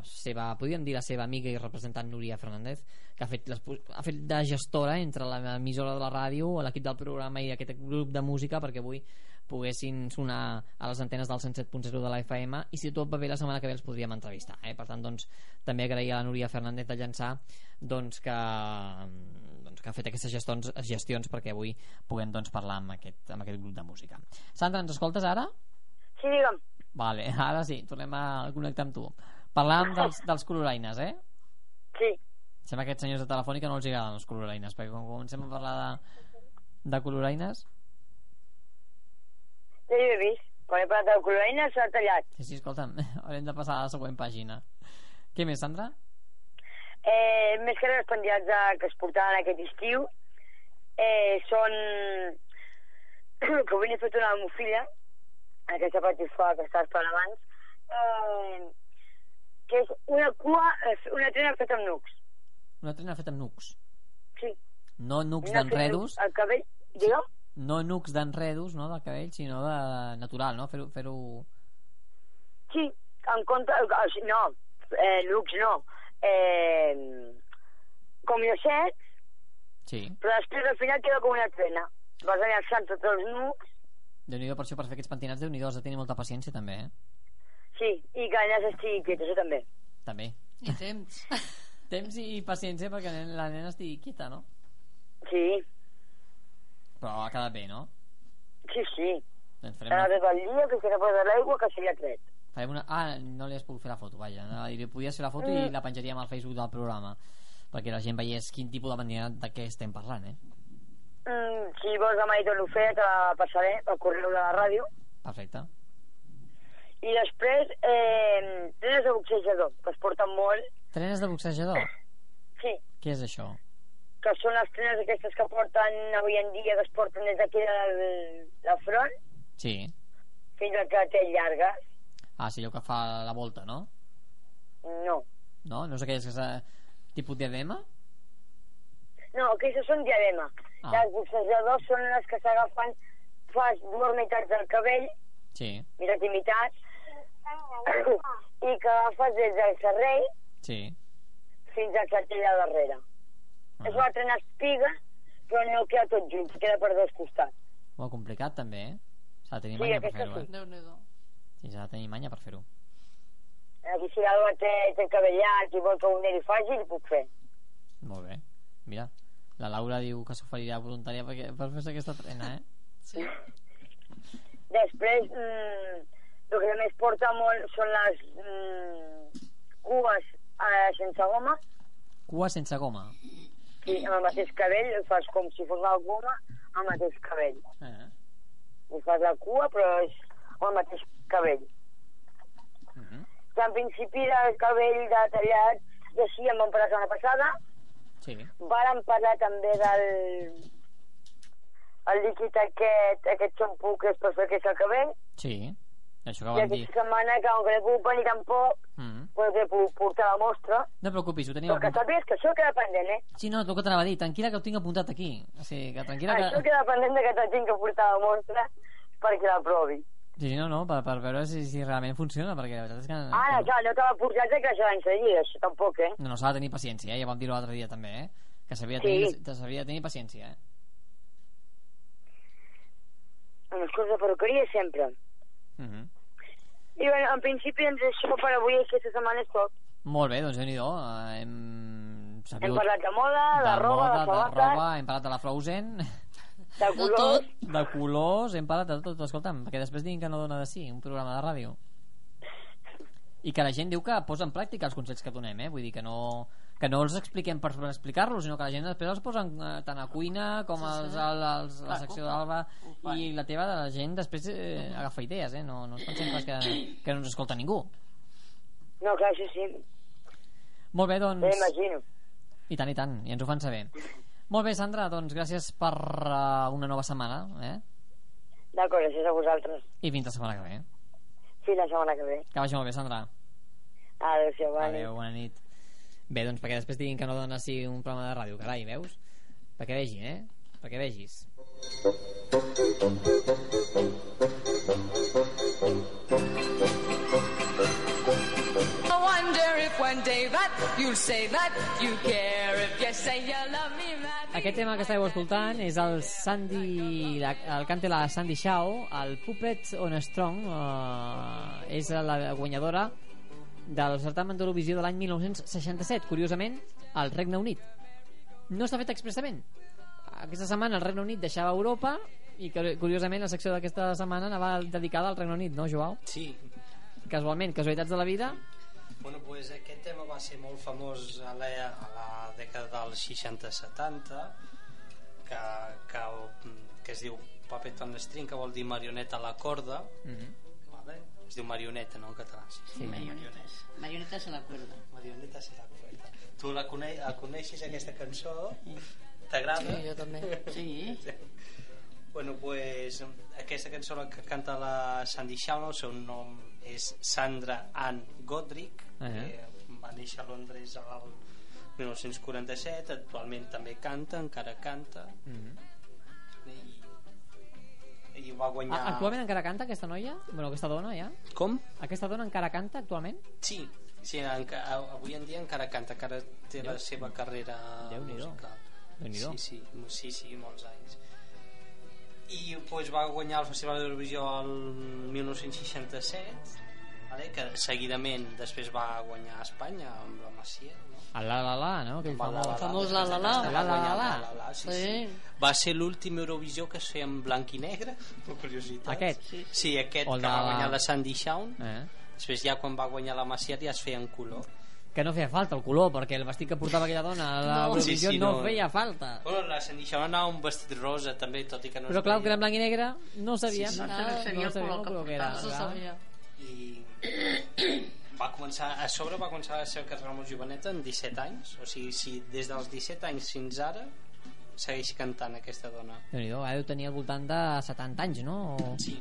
Speaker 2: seva, podríem dir la seva amiga i representant Núria Fernández, que ha fet, les, ha fet de gestora entre l'emissora de la ràdio, l'equip del programa i aquest grup de música perquè avui poguessin sonar a les antenes del 107.0 de la FM i si tot va bé la setmana que ve els podríem entrevistar eh? per tant doncs també agrair a la Núria Fernández de llançar doncs que doncs, que ha fet aquestes gestions, gestions perquè avui puguem doncs, parlar amb aquest, amb aquest grup de música Sandra, ens escoltes ara?
Speaker 7: Sí, digue'm.
Speaker 2: Vale, ara sí, tornem a connectar amb tu. Parlàvem dels, dels coloraines, eh?
Speaker 7: Sí.
Speaker 2: Sembla que aquests senyors de Telefònica no els agraden els coloraines, perquè quan comencem a parlar de, de coloraines...
Speaker 7: Ja hi he vist. Quan he parlat de coloraina s'ha tallat.
Speaker 2: Sí, sí, escolta'm, haurem de passar a la següent pàgina. Què més, Sandra?
Speaker 7: Eh, més que res, els penjats de- que es portaven aquest estiu eh, són... que avui n'he fet una a la meva filla, aquesta patifa que estàs parlant abans, eh, que és una cua, és una trena feta amb nucs.
Speaker 2: Una trena feta amb nucs.
Speaker 7: Sí.
Speaker 2: No nucs
Speaker 7: Una feta amb
Speaker 2: d'enredos,
Speaker 7: El cabell, digue'm,
Speaker 2: no nucs d'enredos, no, del cabell, sinó de natural, no? Fer-ho... Fer
Speaker 7: sí, en compte... o sigui, No, eh, nucs no. Eh, com jo sé,
Speaker 2: sí.
Speaker 7: però després al final queda com una trena. Vas enllaçant tots els nucs
Speaker 2: Déu-n'hi-do per això, per fer aquests pentinats, Déu-n'hi-do, has de tenir molta paciència, també, eh?
Speaker 7: Sí, i que allà s'estigui quiet, això també.
Speaker 2: També.
Speaker 1: I temps.
Speaker 2: Temps i paciència perquè nen- la nena estigui quieta, no?
Speaker 7: Sí,
Speaker 2: Però ha quedat bé, no?
Speaker 7: sí, sí.
Speaker 2: Doncs farem
Speaker 7: Ara
Speaker 2: una,
Speaker 7: des del dia que s'ha posat l'aigua que s'hi ha tret.
Speaker 2: farem una... Ah, no li has pogut fer la foto, vaja. No, li podies fer la foto i
Speaker 7: Mm.
Speaker 2: la penjaríem al Facebook del programa perquè la gent veiés quin tipus de pentinat de què estem parlant, eh?
Speaker 7: Mm, si vols demà hi torno a fer, te la passaré pel correu de la ràdio.
Speaker 2: Perfecte.
Speaker 7: I després, eh, trenes de boxejador, que es porten molt,
Speaker 2: Trenes de boxejador.
Speaker 7: sí,
Speaker 2: Què és això?
Speaker 7: que són les trenes aquestes que porten avui en dia, que es porten des d'aquí del, del front
Speaker 2: Sí.
Speaker 7: fins al que té llarga.
Speaker 2: Ah, sí, allò que fa la volta, no?
Speaker 7: No.
Speaker 2: No? No és aquelles que s'ha... tipus diadema?
Speaker 7: No, aquestes són diadema.
Speaker 2: Ah.
Speaker 7: Ah. Les boxejadors són les que s'agafen fas dues meitats del cabell,
Speaker 2: Sí,
Speaker 7: meitat i meitat, i que agafes des del serrell
Speaker 2: sí.
Speaker 7: fins al cartell de darrere.
Speaker 2: Ah.
Speaker 7: Es va trenar espiga, però no queda tot junts, queda per dos costats.
Speaker 2: Molt complicat, també, eh? S'ha de tenir
Speaker 7: Sí,
Speaker 2: manya per
Speaker 7: aquesta
Speaker 2: fer-ho, eh?
Speaker 1: Déu-n'hi-do.
Speaker 2: Sí, s'ha de tenir manya per fer-ho.
Speaker 7: Aquí Eh, si l'Alba té, té el cabell llarg i vol que un nen hi faci, li puc fer.
Speaker 2: Molt bé. Mira, la Laura diu que s'oferirà voluntària perquè, per fer-se aquesta trena, eh?
Speaker 1: Sí.
Speaker 7: Després, mm, el que també es porta molt són les mm, cues eh, sense goma,
Speaker 2: Cua sense goma.
Speaker 7: Sí, amb el mateix cabell, el fas com si fos la goma, amb el mateix cabell.
Speaker 2: Eh?
Speaker 7: Li fas la cua, però és amb el mateix cabell.
Speaker 2: Mm -hmm.
Speaker 7: Que en principi el cabell de tallat, i així em van parlar la setmana passada,
Speaker 2: Sí.
Speaker 7: varen parlar també del el líquid aquest, aquest xampú que és per fer aquest cabell,
Speaker 2: Sí. Això que
Speaker 7: i
Speaker 2: vam dir.
Speaker 7: aquesta setmana que com que no he pogut venir tampoc,
Speaker 2: Mm.
Speaker 7: pues he pogut portar la mostra,
Speaker 2: No et preocupis, ho tenim
Speaker 7: però que
Speaker 2: apuntat.
Speaker 7: sàpigues que això queda pendent, eh?
Speaker 2: Sí, no, és el que t'anava a dir. Tranquil·la que ho tinc apuntat aquí. O sigui, que tranquil·la
Speaker 7: Ah, Això
Speaker 2: que...
Speaker 7: queda pendent de que la gent que porta la mostra perquè la provi.
Speaker 2: Sí, sí, no, no, per, per veure si, si realment funciona, perquè la veritat és que...
Speaker 7: Ara, clar, no te va posar que això l'any seguida, això tampoc, eh?
Speaker 2: No, no, s'ha de tenir paciència, eh? Ja vam dir-ho l'altre dia, també, eh? Que s'havia de,
Speaker 7: Sí.
Speaker 2: tenir- s'havia de tenir paciència, eh?
Speaker 7: Amb els curs de perruqueria sempre.
Speaker 2: Mm -hmm.
Speaker 7: I bé, en principi ens això per avui aquesta setmana és tot.
Speaker 2: Molt bé, doncs déu nhi -do. Hem sabut
Speaker 7: Hem parlat de moda, de, roba, de
Speaker 2: moda, de
Speaker 7: sabates,
Speaker 2: roba, hem parlat de la Frozen,
Speaker 7: de,
Speaker 1: De
Speaker 7: colors...
Speaker 1: tot.
Speaker 2: de colors, hem parlat de tot, escolta'm, perquè després diguin que no dona de sí, un programa de ràdio. I que la gent diu que posa en pràctica els consells que donem, eh? Vull dir que no, que no els expliquem per explicar-los, sinó que la gent després els posa en, eh, tant a cuina com als, als, als, la
Speaker 1: Clar,
Speaker 2: secció
Speaker 1: ho fa,
Speaker 2: d'Alba
Speaker 1: ho fa.
Speaker 2: i la teva de la gent després eh, agafa idees, eh? No, no ens pensem pas que, que no ens escolta ningú.
Speaker 7: No, clar, això sí,
Speaker 2: Molt bé, doncs...
Speaker 7: ja imagino.
Speaker 2: I tant, i tant, i ens ho fan saber. Molt bé, Sandra, doncs gràcies per uh, una nova setmana, eh?
Speaker 7: D'acord, això és a vosaltres.
Speaker 2: I fins la setmana que ve.
Speaker 7: Fins la setmana que ve.
Speaker 2: Que vagi molt bé, Sandra.
Speaker 7: Adéu-siau, bona nit.
Speaker 2: Adéu, bona nit. Bé, doncs perquè després diguin que no dona sí un programa de ràdio, carai, veus? Perquè vegin, eh? Perquè vegis.
Speaker 9: I wonder if one day that you'll say that you care if you say you love me, man.
Speaker 2: Aquest tema que estàveu escoltant és el Sandy, la, el cante la Sandy Shaw, el Puppets on Strong, eh, és la guanyadora del certamen d'Eurovisió de l'any 1967, curiosament, al Regne Unit. No està fet expressament. Aquesta setmana el Regne Unit deixava Europa i curi- curiosament la secció d'aquesta setmana anava dedicada al Regne Unit, no, Joao?
Speaker 4: Sí.
Speaker 2: Casualment, casualitats de la vida.
Speaker 4: Bueno, pues aquest tema va ser molt famós a la, a la dècada dels 60-70 que, que, que es diu Puppet on the String, que vol dir marioneta a la corda.
Speaker 2: Mm
Speaker 4: Vale? Es diu marioneta, no, en català. Sí, sí.
Speaker 3: Marionetes. Marionetes a la corda.
Speaker 4: Marioneta serà correcta. Tu la, cone la coneixes, aquesta cançó? T'agrada?
Speaker 1: Sí, jo també.
Speaker 3: Sí.
Speaker 4: Bueno, pues aquesta cançó la que canta la Sandy Shaw, el seu nom és Sandra Ann Godric, uh
Speaker 2: Ah,
Speaker 4: -huh.
Speaker 2: ja.
Speaker 4: que va néixer a Londres el 1947, actualment també canta, encara canta,
Speaker 2: -hmm.
Speaker 4: i, i va guanyar...
Speaker 2: Ah, actualment encara canta aquesta noia? Bueno, aquesta dona, ja?
Speaker 4: Com?
Speaker 2: Aquesta dona encara canta actualment?
Speaker 4: Sí, sí enca... avui en dia encara canta, encara té la seva carrera
Speaker 2: Déu-n'hi-do.
Speaker 4: musical.
Speaker 2: Déu-n'hi-do.
Speaker 4: Sí, sí, mo- sí, sí, molts anys. I pues, va guanyar el Festival d'Eurovisió el 1967, vale? que seguidament després va guanyar a Espanya amb la Macià, no?
Speaker 2: El la la la, no? Aquell famós.
Speaker 1: la. famós la la la.
Speaker 4: La la la.
Speaker 2: La
Speaker 4: la, la, sí,
Speaker 1: Sí.
Speaker 4: sí. Va ser l'últim Eurovisió que es feia en blanc i negre, per curiositat.
Speaker 2: Aquest?
Speaker 4: Sí, sí aquest
Speaker 2: O
Speaker 4: que
Speaker 2: la-
Speaker 4: va guanyar la Sandy Shaun.
Speaker 2: Eh?
Speaker 4: Després ja quan va guanyar la Macià ja es feia en color.
Speaker 2: que no feia falta el color, perquè el vestit que portava aquella dona a la
Speaker 4: No.
Speaker 2: no,
Speaker 4: Sí, sí,
Speaker 2: no,
Speaker 4: no.
Speaker 2: feia falta.
Speaker 4: Bueno, la Sandy Shaw anava amb un vestit rosa també, tot i que no
Speaker 2: Però
Speaker 4: es
Speaker 2: clar, que era
Speaker 4: veia.
Speaker 2: en blanc i negre, no sabíem.
Speaker 3: Sí, sí, no
Speaker 2: Ah,
Speaker 3: sabia el color que
Speaker 2: era.
Speaker 1: No se
Speaker 2: clar.
Speaker 1: sabia.
Speaker 4: i va començar, a sobre va començar a ser carrera molt joveneta en 17 anys o sigui, si des dels 17 anys fins ara segueix cantant aquesta dona
Speaker 2: Déu-n'hi-do, ara deu tenir al voltant de 70 anys, no? O...
Speaker 4: sí,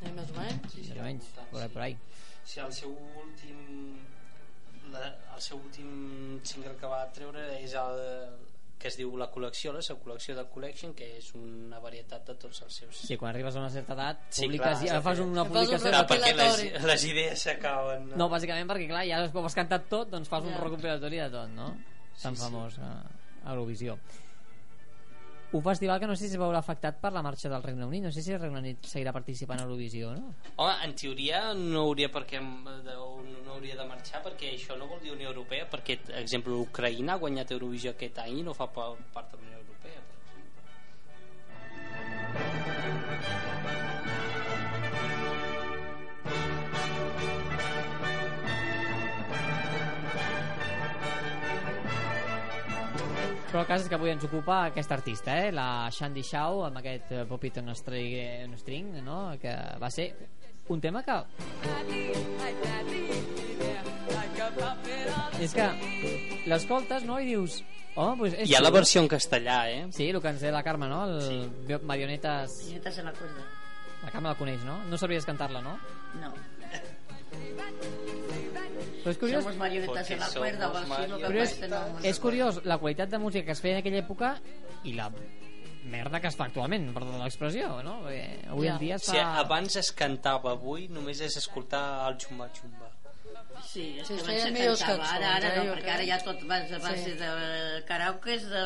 Speaker 1: Ni més o menys.
Speaker 4: sí,
Speaker 2: Més
Speaker 4: sí,
Speaker 2: o menys,
Speaker 4: al voltant,
Speaker 2: por ahí,
Speaker 4: sí.
Speaker 2: por ahí.
Speaker 4: sí, el seu últim la, el seu últim single que va treure és el que es diu La Col·lecció, la seva col·lecció de Collection, que és una varietat de tots els seus...
Speaker 2: Sí, quan arribes a una certa edat,
Speaker 4: Sí,
Speaker 2: publiques,
Speaker 4: clar,
Speaker 2: i ara
Speaker 4: sí,
Speaker 2: fas
Speaker 4: sí.
Speaker 2: una
Speaker 1: Fas un
Speaker 2: publicació...
Speaker 4: Clar,
Speaker 2: de-
Speaker 1: recopilatori.
Speaker 4: Ah, perquè les, les idees s'acaben...
Speaker 2: No, bàsicament perquè, clar, ja després has cantat tot, doncs fas un
Speaker 1: Ja.
Speaker 2: recopilatori de tot, no? Tan
Speaker 4: Sí, sí.
Speaker 2: famós a a Eurovisió. Un festival que no sé si es veurà afectat per la marxa del Regne Unit. No sé si el Regne Unit seguirà participant a Eurovisió, no?
Speaker 4: Home, en teoria no hauria, per què, de- no hauria de marxar perquè això no vol dir Unió Europea perquè, per exemple, Ucraïna ha guanyat Eurovisió aquest any i no fa pa- part de la Unió Europea. Per exemple.
Speaker 2: Però el cas és que avui ens ocupa aquesta artista, eh? la Shandy Shaw, amb aquest eh, Pop It on a String, eh, on a string no? que va ser un tema que és que l'escoltes no? i dius oh, doncs és
Speaker 4: Hi ha la
Speaker 2: xulo".
Speaker 4: versió en castellà, eh?
Speaker 2: sí, el que ens deia la Carme no? el
Speaker 4: Sí.
Speaker 2: sí. Marionetes
Speaker 3: I no se n'acorda.
Speaker 2: la Carme la coneix, no? no sabries cantar-la, no?
Speaker 3: No.
Speaker 2: però és curiós
Speaker 3: Somos marionetas
Speaker 4: Porque
Speaker 3: en la cuerda o
Speaker 4: somos
Speaker 3: así, lo que
Speaker 4: marionetas.
Speaker 3: parece, no, no
Speaker 2: és
Speaker 3: sé.
Speaker 2: curiós la qualitat de música que es feia en aquella època i la merda que es fa actualment, perdó l'expressió, no? Perquè avui
Speaker 1: Ja.
Speaker 2: en dia es fa...
Speaker 4: Si abans es cantava, avui només és escoltar el xumba xumba.
Speaker 3: Sí, és
Speaker 1: Sí,
Speaker 3: que
Speaker 1: es
Speaker 3: abans
Speaker 1: feien
Speaker 3: se
Speaker 1: millors
Speaker 3: cantava,
Speaker 1: cançons,
Speaker 3: ara, ara
Speaker 1: eh,
Speaker 3: no,
Speaker 1: jo
Speaker 3: perquè
Speaker 1: crec.
Speaker 3: ara ja tot va a base
Speaker 1: Sí.
Speaker 3: de karaokes, de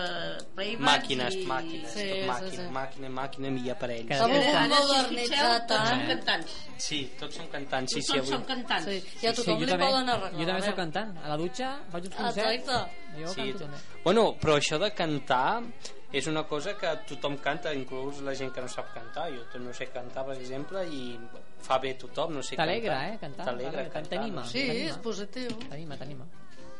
Speaker 3: playbacks
Speaker 4: Màquines,
Speaker 3: i...
Speaker 4: màquines,
Speaker 1: Sí,
Speaker 4: tot
Speaker 1: sí,
Speaker 4: màquina,
Speaker 1: sí.
Speaker 4: màquina, màquina, i aparells.
Speaker 2: Que-
Speaker 1: S'ha volgut
Speaker 3: Ara, si us
Speaker 1: modernitzar
Speaker 3: fixeu, tots
Speaker 1: tant.
Speaker 3: som cantants.
Speaker 4: Sí, tots som cantants, sí,
Speaker 3: Tots
Speaker 4: sí, avui.
Speaker 3: som cantants.
Speaker 1: Sí, i a tothom
Speaker 2: jo
Speaker 1: li
Speaker 2: també,
Speaker 1: volen arreglar.
Speaker 2: Jo també
Speaker 1: la
Speaker 2: soc
Speaker 1: veu.
Speaker 2: cantant. A la dutxa faig uns concerts.
Speaker 1: Exacte.
Speaker 2: Jo
Speaker 4: Sí,
Speaker 2: canto també.
Speaker 4: bueno, però això de cantar és una cosa que tothom canta, inclús la gent que no sap cantar. Jo tot no sé cantar, per exemple, i fa bé tothom, no sé
Speaker 2: T'alegra,
Speaker 4: cantar.
Speaker 2: eh, cantar.
Speaker 4: T'alegra,
Speaker 2: T'alegra,
Speaker 4: cantar.
Speaker 2: t'anima.
Speaker 4: No sé.
Speaker 1: Sí,
Speaker 2: T'anima.
Speaker 1: és positiu.
Speaker 2: T'anima, t'anima.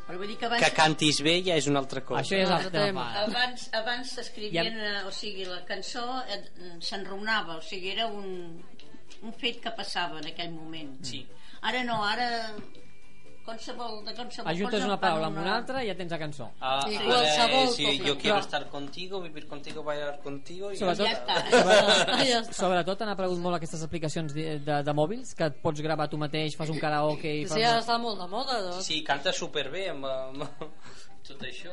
Speaker 3: Però vull dir que
Speaker 4: Que
Speaker 3: abans,
Speaker 4: cantis bé ja és una altra cosa.
Speaker 2: Això ja és
Speaker 1: Ah,
Speaker 2: el tema.
Speaker 1: tema.
Speaker 2: part.
Speaker 3: abans, abans s'escrivien, eh, o sigui, la cançó eh, s'enraonava, o sigui, era un, un fet que passava en aquell moment.
Speaker 4: Sí.
Speaker 2: Mm.
Speaker 3: Ara no, ara qualsevol, de qualsevol
Speaker 2: Ajuntes
Speaker 3: cosa
Speaker 2: una
Speaker 3: fan
Speaker 2: paraula amb una altra i ja tens la cançó.
Speaker 4: Ah,
Speaker 1: I
Speaker 4: ara
Speaker 1: qualsevol
Speaker 4: és, sí,
Speaker 1: cosa.
Speaker 4: jo quiero
Speaker 2: Però-
Speaker 4: estar contigo, vivir contigo, bailar contigo... I...
Speaker 2: Sobretot-
Speaker 3: Ja està.
Speaker 1: Ah, ja està.
Speaker 2: Sobretot han aparegut molt aquestes aplicacions de, de, de mòbils que et pots gravar tu mateix, fas un karaoke... I
Speaker 1: Sí,
Speaker 2: fas...
Speaker 1: sí, ara està molt de moda, doncs.
Speaker 4: Sí, canta superbé amb, amb tot això.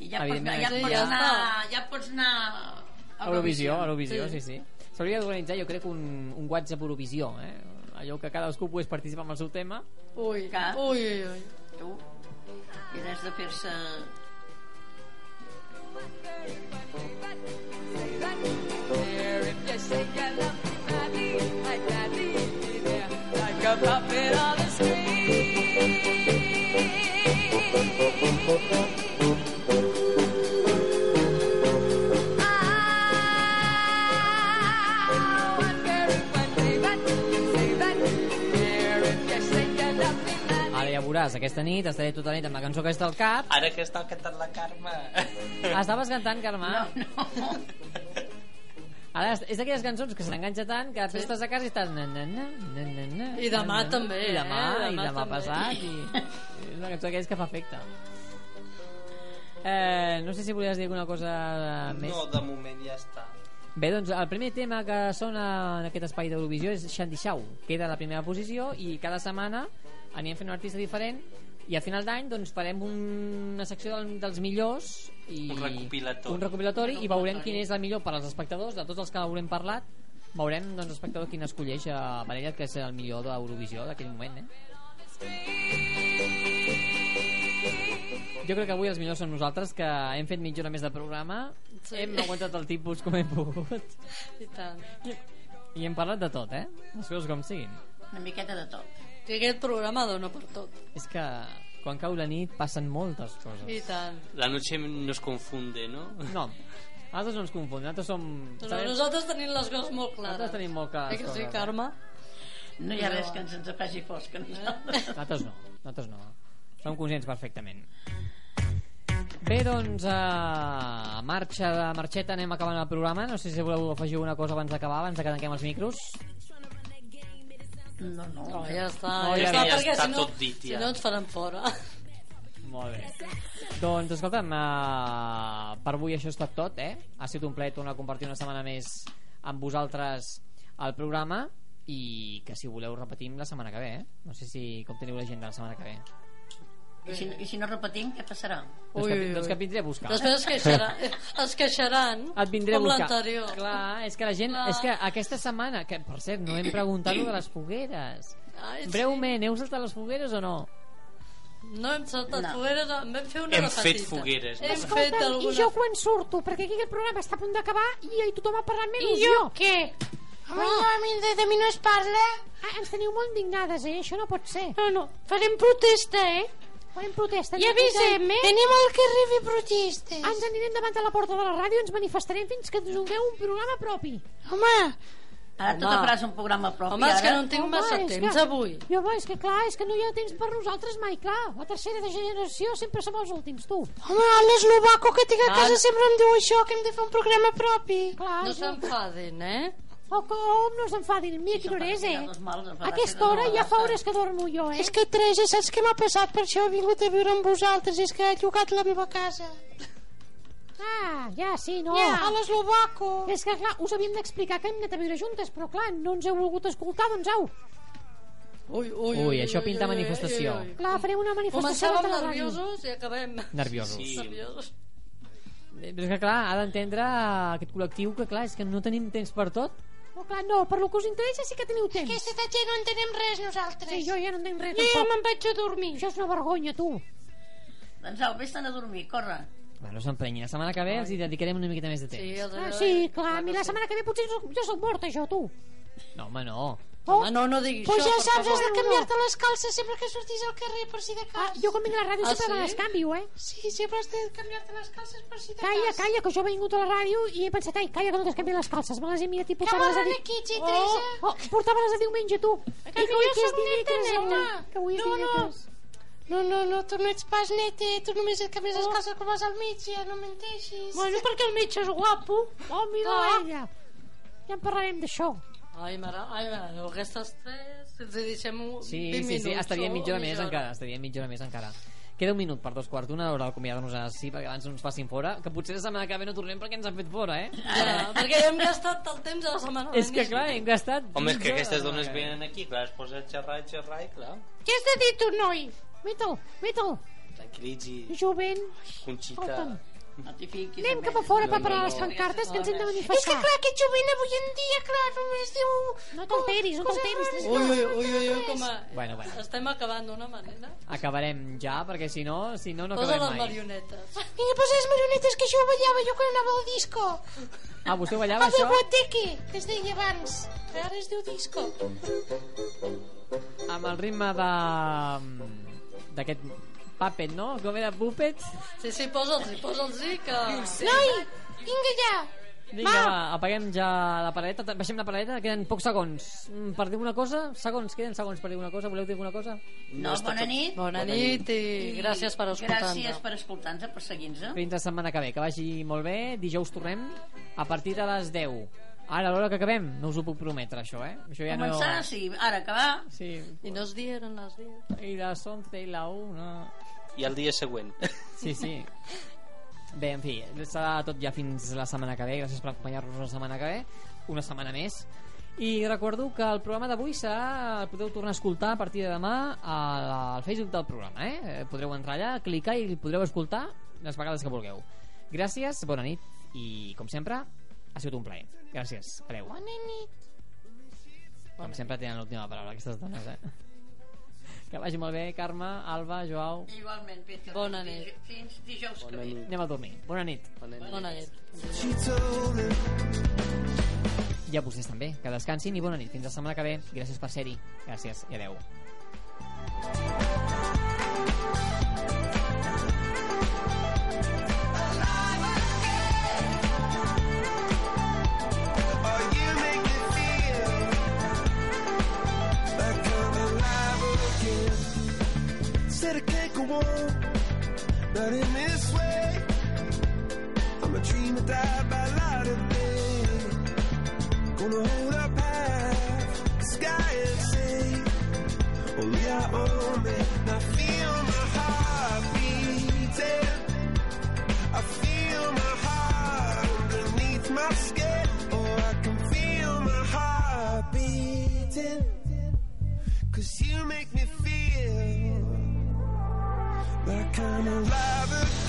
Speaker 3: I ja pots, anar,
Speaker 2: Evidentment,
Speaker 3: ja,
Speaker 1: sí,
Speaker 3: pots
Speaker 1: ja
Speaker 3: anar,
Speaker 1: està.
Speaker 3: ja pots anar a
Speaker 2: Eurovisió, Eurovisió,
Speaker 1: Sí.
Speaker 2: sí, sí. S'hauria d'organitzar, jo crec, un, un WhatsApp Eurovisió, eh? Allò que cadascú pogués participar amb el seu tema.
Speaker 1: Ui,
Speaker 3: Clar.
Speaker 1: ui, ui, ui.
Speaker 3: Tu i has de fer-se...
Speaker 9: Ah,
Speaker 2: Ara ja veuràs, aquesta nit estaré tota la nit amb la cançó que està al cap.
Speaker 4: Ara que està cantant la Carme...
Speaker 2: Estaves cantant, Carme?
Speaker 3: No.
Speaker 2: Ara és- és d'aquelles cançons que s'enganxa tant que després estàs a casa i estàs... Na, na, na, na, na, na,
Speaker 1: I demà
Speaker 2: na, na,
Speaker 1: també,
Speaker 2: I demà,
Speaker 1: eh?
Speaker 2: i
Speaker 1: Demà
Speaker 2: demà
Speaker 1: també.
Speaker 2: passat. I... És una cançó d'aquelles que fa efecte. Eh, no sé si volies dir alguna cosa Ah, més.
Speaker 4: No, de moment ja està.
Speaker 2: Bé, doncs el primer tema que sona en aquest espai d'Eurovisió és Shandy Shaw. Queda a la primera posició i cada setmana anem fent un artista diferent i a final d'any doncs, farem un- una secció del, dels millors i
Speaker 4: Un recopilatori.
Speaker 2: un recopilatori i veurem quin és el millor per als espectadors de tots els que haurem parlat veurem doncs, l'espectador quin escolleix a Parella que és el millor d'Eurovisió d'aquell moment eh? jo crec que avui els millors són nosaltres que hem fet mitja hora més de programa
Speaker 1: Sí.
Speaker 2: hem aguantat el tipus com hem pogut
Speaker 1: I tant.
Speaker 2: i hem parlat de tot, eh? Les coses com siguin.
Speaker 3: Una miqueta de tot.
Speaker 1: I aquest programa dona per tot.
Speaker 2: És que quan cau la nit passen moltes
Speaker 1: I
Speaker 2: coses.
Speaker 1: tant.
Speaker 4: La noche nos confunde, no?
Speaker 2: No, nosaltres no ens confonem, nosaltres som...
Speaker 1: No,
Speaker 2: sabem-
Speaker 1: Doncs nosaltres tenim les coses molt clares.
Speaker 2: Nosaltres tenim molt clares
Speaker 1: Eh que sí,
Speaker 2: coses, eh?
Speaker 1: Carme?
Speaker 3: No hi ha res que ens ens faci fosca. No?
Speaker 2: Nosaltres no, nosaltres no. Som conscients perfectament. Bé, doncs, a uh, marxa de marxeta anem acabant el programa. No sé si voleu afegir alguna cosa abans d'acabar, abans de que tanquem els micros.
Speaker 3: No, no. eh?
Speaker 1: No, ja està,
Speaker 2: No, Doncs
Speaker 1: ja, està,
Speaker 2: ja està
Speaker 1: perquè si no,
Speaker 4: tot dit, ja.
Speaker 1: si no ens faran fora.
Speaker 2: Molt bé. Doncs, escolta'm, uh, per avui això ha estat tot, eh? Ha sigut un plaer tornar a compartir una setmana més amb vosaltres el programa i que, si voleu, repetim la setmana que ve, eh? No sé si com teniu la gent de la setmana que ve.
Speaker 3: I si, I si no repetim, què passarà?
Speaker 2: Doncs,
Speaker 1: Ui,
Speaker 2: que,
Speaker 1: ui, ui.
Speaker 2: doncs que et vindré a buscar.
Speaker 1: Després es queixaran, es queixaran
Speaker 2: et vindré a
Speaker 1: com
Speaker 2: buscar.
Speaker 1: l'anterior.
Speaker 2: Clar, és que la gent...
Speaker 1: Clar.
Speaker 2: És que aquesta setmana... Que, per cert, no hem preguntat lo de les fogueres.
Speaker 1: Ai, sí.
Speaker 2: Breument, heu saltat les fogueres o no?
Speaker 1: No hem saltat
Speaker 3: No.
Speaker 1: fogueres, en vam fer una
Speaker 4: Hem
Speaker 1: de
Speaker 4: fet
Speaker 1: petita.
Speaker 4: fogueres, no?
Speaker 1: Hem fet alguna...
Speaker 10: i jo quan surto? Perquè aquí el programa està a punt d'acabar i ahir tothom ha parlat menys jo. I jo què? A mi, no, a mi, de, de mi no es parla. Ah, ens teniu molt indignades, eh? Això no pot ser. No, no. Farem protesta, eh? Farem protesta. I avisem, eh? Tenim al carrer fer protestes. Ens anirem davant de la porta de la ràdio i ens manifestarem fins que ens doneu un programa propi. Home,
Speaker 3: Ara tu
Speaker 1: Home.
Speaker 3: faràs un programa propi,
Speaker 1: Home, és que
Speaker 3: ara.
Speaker 1: no en
Speaker 2: Oh,
Speaker 1: tinc massa
Speaker 10: és
Speaker 1: temps
Speaker 10: que,
Speaker 1: avui.
Speaker 10: Jo, home, és que clar, és que no hi ha temps per nosaltres mai, clar. La tercera de generació sempre som els últims, tu. Home, a més, lo vaco que tinc a
Speaker 1: Ah. casa
Speaker 10: sempre em diu això, que hem de fer un programa propi. Clar,
Speaker 1: No
Speaker 10: no jo...
Speaker 1: s'enfadin, eh?
Speaker 10: O, que- o no s'enfadin. Mira, quina hora és, eh?
Speaker 3: Dos mals, a
Speaker 10: A
Speaker 3: vegades
Speaker 10: aquesta
Speaker 3: de
Speaker 10: hora ja
Speaker 3: vegades.
Speaker 10: fa hores que dormo jo, eh?
Speaker 8: És que, Teresa, saps què m'ha passat? Per això he vingut a viure amb vosaltres. És que he llogat la meva casa.
Speaker 10: Ah, ja, sí, no.
Speaker 8: A l'Eslovaco.
Speaker 10: És que, clar, us havíem d'explicar que hem anat a viure juntes, però, clar, no ens heu volgut escoltar, doncs au.
Speaker 1: Ui, ui,
Speaker 2: Ui, això pinta manifestació.
Speaker 10: Clar, farem una manifestació
Speaker 1: Començàvem
Speaker 10: contra la ràdio.
Speaker 1: nerviosos i acabem
Speaker 2: Nerviosos.
Speaker 4: Sí.
Speaker 1: nerviosos.
Speaker 2: Eh, Però és que, clar, ha d'entendre eh, aquest col·lectiu que, clar, és que no tenim temps per tot.
Speaker 10: No, Oh, clar, no, per lo que us interessa sí que teniu temps.
Speaker 8: Aquesta gent no entenem res, nosaltres.
Speaker 10: Sí, jo ja no entenc res,
Speaker 8: Jo ja
Speaker 10: tampoc.
Speaker 8: me'n vaig a dormir.
Speaker 10: Això és una vergonya, tu.
Speaker 3: Doncs au, vés-te'n a dormir, corre.
Speaker 2: Clar, no s'emprenyin. La setmana que ve els hi dedicarem una miqueta més de
Speaker 1: Sí,
Speaker 2: temps.
Speaker 1: els
Speaker 10: Ah,
Speaker 1: agrada-
Speaker 10: sí, clar, a mi
Speaker 1: que
Speaker 10: la
Speaker 1: sí.
Speaker 10: setmana que ve potser soc, jo soc morta, jo, tu.
Speaker 2: No, home, no.
Speaker 1: Home, no, no diguis
Speaker 8: Pues
Speaker 1: això,
Speaker 8: ja
Speaker 1: per
Speaker 8: saps, has
Speaker 1: favor.
Speaker 8: de canviar-te les calces sempre que sortís al carrer, per si de
Speaker 10: Ah,
Speaker 8: cas.
Speaker 10: jo quan vinc a la ràdio
Speaker 1: Ah,
Speaker 10: sempre me
Speaker 1: sí?
Speaker 10: les canvio, eh?
Speaker 8: Sí, sempre has de canviar-te les calces per si de
Speaker 10: Calla,
Speaker 8: cas.
Speaker 10: calla, que jo he vingut a la ràdio i he pensat, ai, calla, que no t'has canviat les calces. Me les he mirat i portava-les a...
Speaker 8: barran
Speaker 10: Di...
Speaker 8: aquí, Teresa.
Speaker 10: Oh, oh, portava-les a diumenge, tu.
Speaker 8: Que
Speaker 10: I
Speaker 8: jo
Speaker 10: avui que és
Speaker 8: soc neta,
Speaker 10: dimecres,
Speaker 8: nena.
Speaker 10: eh? Que avui és
Speaker 8: No, no.
Speaker 10: dimecres.
Speaker 8: No, no, no, tu no ets pas neta, tu només et canvies les calces quan vas al metge, no menteixis.
Speaker 10: Oh. Bueno, perquè el metge és guapo. Oh, mira
Speaker 8: Ah.
Speaker 10: ella. Ja en parlarem d'això.
Speaker 1: Ai, mare, ai, mare, aquestes tres, si ens hi deixem un-
Speaker 2: Sí,
Speaker 1: 20
Speaker 2: sí, sí,
Speaker 1: minuts,
Speaker 2: estaria
Speaker 1: o
Speaker 2: mitja hora més
Speaker 1: hora.
Speaker 2: encara. Estaria mitja hora més encara. Queda un minut per dos quarts d'una hora d'acomiadar-nos ara sí, perquè abans no ens facin fora, que potser la setmana que ve no tornem perquè ens han fet fora, eh?
Speaker 1: Ja, Ah, perquè ja hem gastat el temps de la setmana.
Speaker 2: És que, clar, hem gastat...
Speaker 4: Home, és que
Speaker 2: mitja
Speaker 4: aquestes
Speaker 2: hora.
Speaker 4: dones venen aquí, clar, es posa a xerrar, a xerrar i clar,
Speaker 10: Què has de dir tu, noi? Metal, metal,
Speaker 4: tranquil·litzi,
Speaker 10: jovent.
Speaker 4: Conxita.
Speaker 10: Escolta'm.
Speaker 3: No t'hi fiquis.
Speaker 10: Anem
Speaker 3: amb
Speaker 10: cap a
Speaker 3: ell.
Speaker 10: fora
Speaker 4: No,
Speaker 10: per
Speaker 4: no,
Speaker 10: parar
Speaker 4: no.
Speaker 10: les pancartes que ens hem de manifestar.
Speaker 8: És que clar, aquest jovent avui en dia, clar, només diu...
Speaker 10: No t'alteris, no
Speaker 8: coses
Speaker 10: t'alteris,
Speaker 8: rares.
Speaker 1: Ui, ui, ui, ui, ui, com a...
Speaker 2: Bueno, bueno.
Speaker 1: Estem acabant d'una manera.
Speaker 2: Acabarem ja, perquè si no, si no, no
Speaker 1: Posa
Speaker 2: acabarem
Speaker 1: les
Speaker 2: mai.
Speaker 1: marionetes.
Speaker 8: Vinga, posa les marionetes, que jo ballava jo quan anava al disco.
Speaker 2: Ah, vostè ballava
Speaker 8: El de
Speaker 2: això?
Speaker 8: Guateque, que es deia abans. Però ara es diu disco.
Speaker 2: Amb el ritme de... mm, d'aquest puppet, no? Com era puppet?
Speaker 1: Sí, sí, posa'ls-hi, posa'ls-hi, que...
Speaker 8: Noi, vinga ja.
Speaker 2: Vinga, va, apaguem ja la paradeta, ta- baixem la paradeta, queden pocs segons. Mm, Per dir una cosa, segons, queden segons per dir una cosa, voleu dir alguna cosa?
Speaker 4: Ah.
Speaker 3: No, bona nit.
Speaker 1: Bona nit i gràcies per escoltar-nos.
Speaker 3: Gràcies per escoltar-nos, eh? per seguir-nos.
Speaker 2: Fins la setmana que ve, que vagi molt bé, dijous tornem a partir de les 10. Ara, a l'hora que acabem, no us ho puc prometre, això, eh? Això ja
Speaker 3: Començar,
Speaker 2: no...
Speaker 3: sí, ara acabar.
Speaker 2: Sí,
Speaker 1: I no es dieron les dieron.
Speaker 2: i les 11 i la 1...
Speaker 4: I el dia següent.
Speaker 2: Sí, sí. Bé, en fi, serà tot ja fins la setmana que ve. Gràcies per acompanyar-nos la setmana que ve. Una setmana més. I recordo que el programa d'avui serà... El podeu tornar a escoltar a partir de demà a la- al Facebook del programa, eh? Eh? Podreu entrar allà, clicar i el podreu escoltar les vegades que vulgueu. Gràcies, bona nit i, com sempre, ha sigut un plaer. Gràcies, adeu. Bona nit. Com sempre tenen l'última paraula aquestes dones, eh? Que vagi molt bé, Carme, Alba, Joao.
Speaker 3: Igualment, Peter.
Speaker 1: Bona nit.
Speaker 3: Fins dijous que ve.
Speaker 2: Anem a dormir. Bona nit.
Speaker 4: Bona nit.
Speaker 1: Bona nit.
Speaker 2: I a vostès també, que descansin i bona nit. Fins la setmana que ve. Gràcies per ser-hi. Gràcies i adeu.
Speaker 6: Said I can't go
Speaker 11: world that in this way I'm a dream that died by light of day Gonna hold up half the sky and say Only I own it And I feel my heart beating I feel my heart underneath my skin Oh, I can feel my heart beating Cause you make me feel like I'm alive again. oh,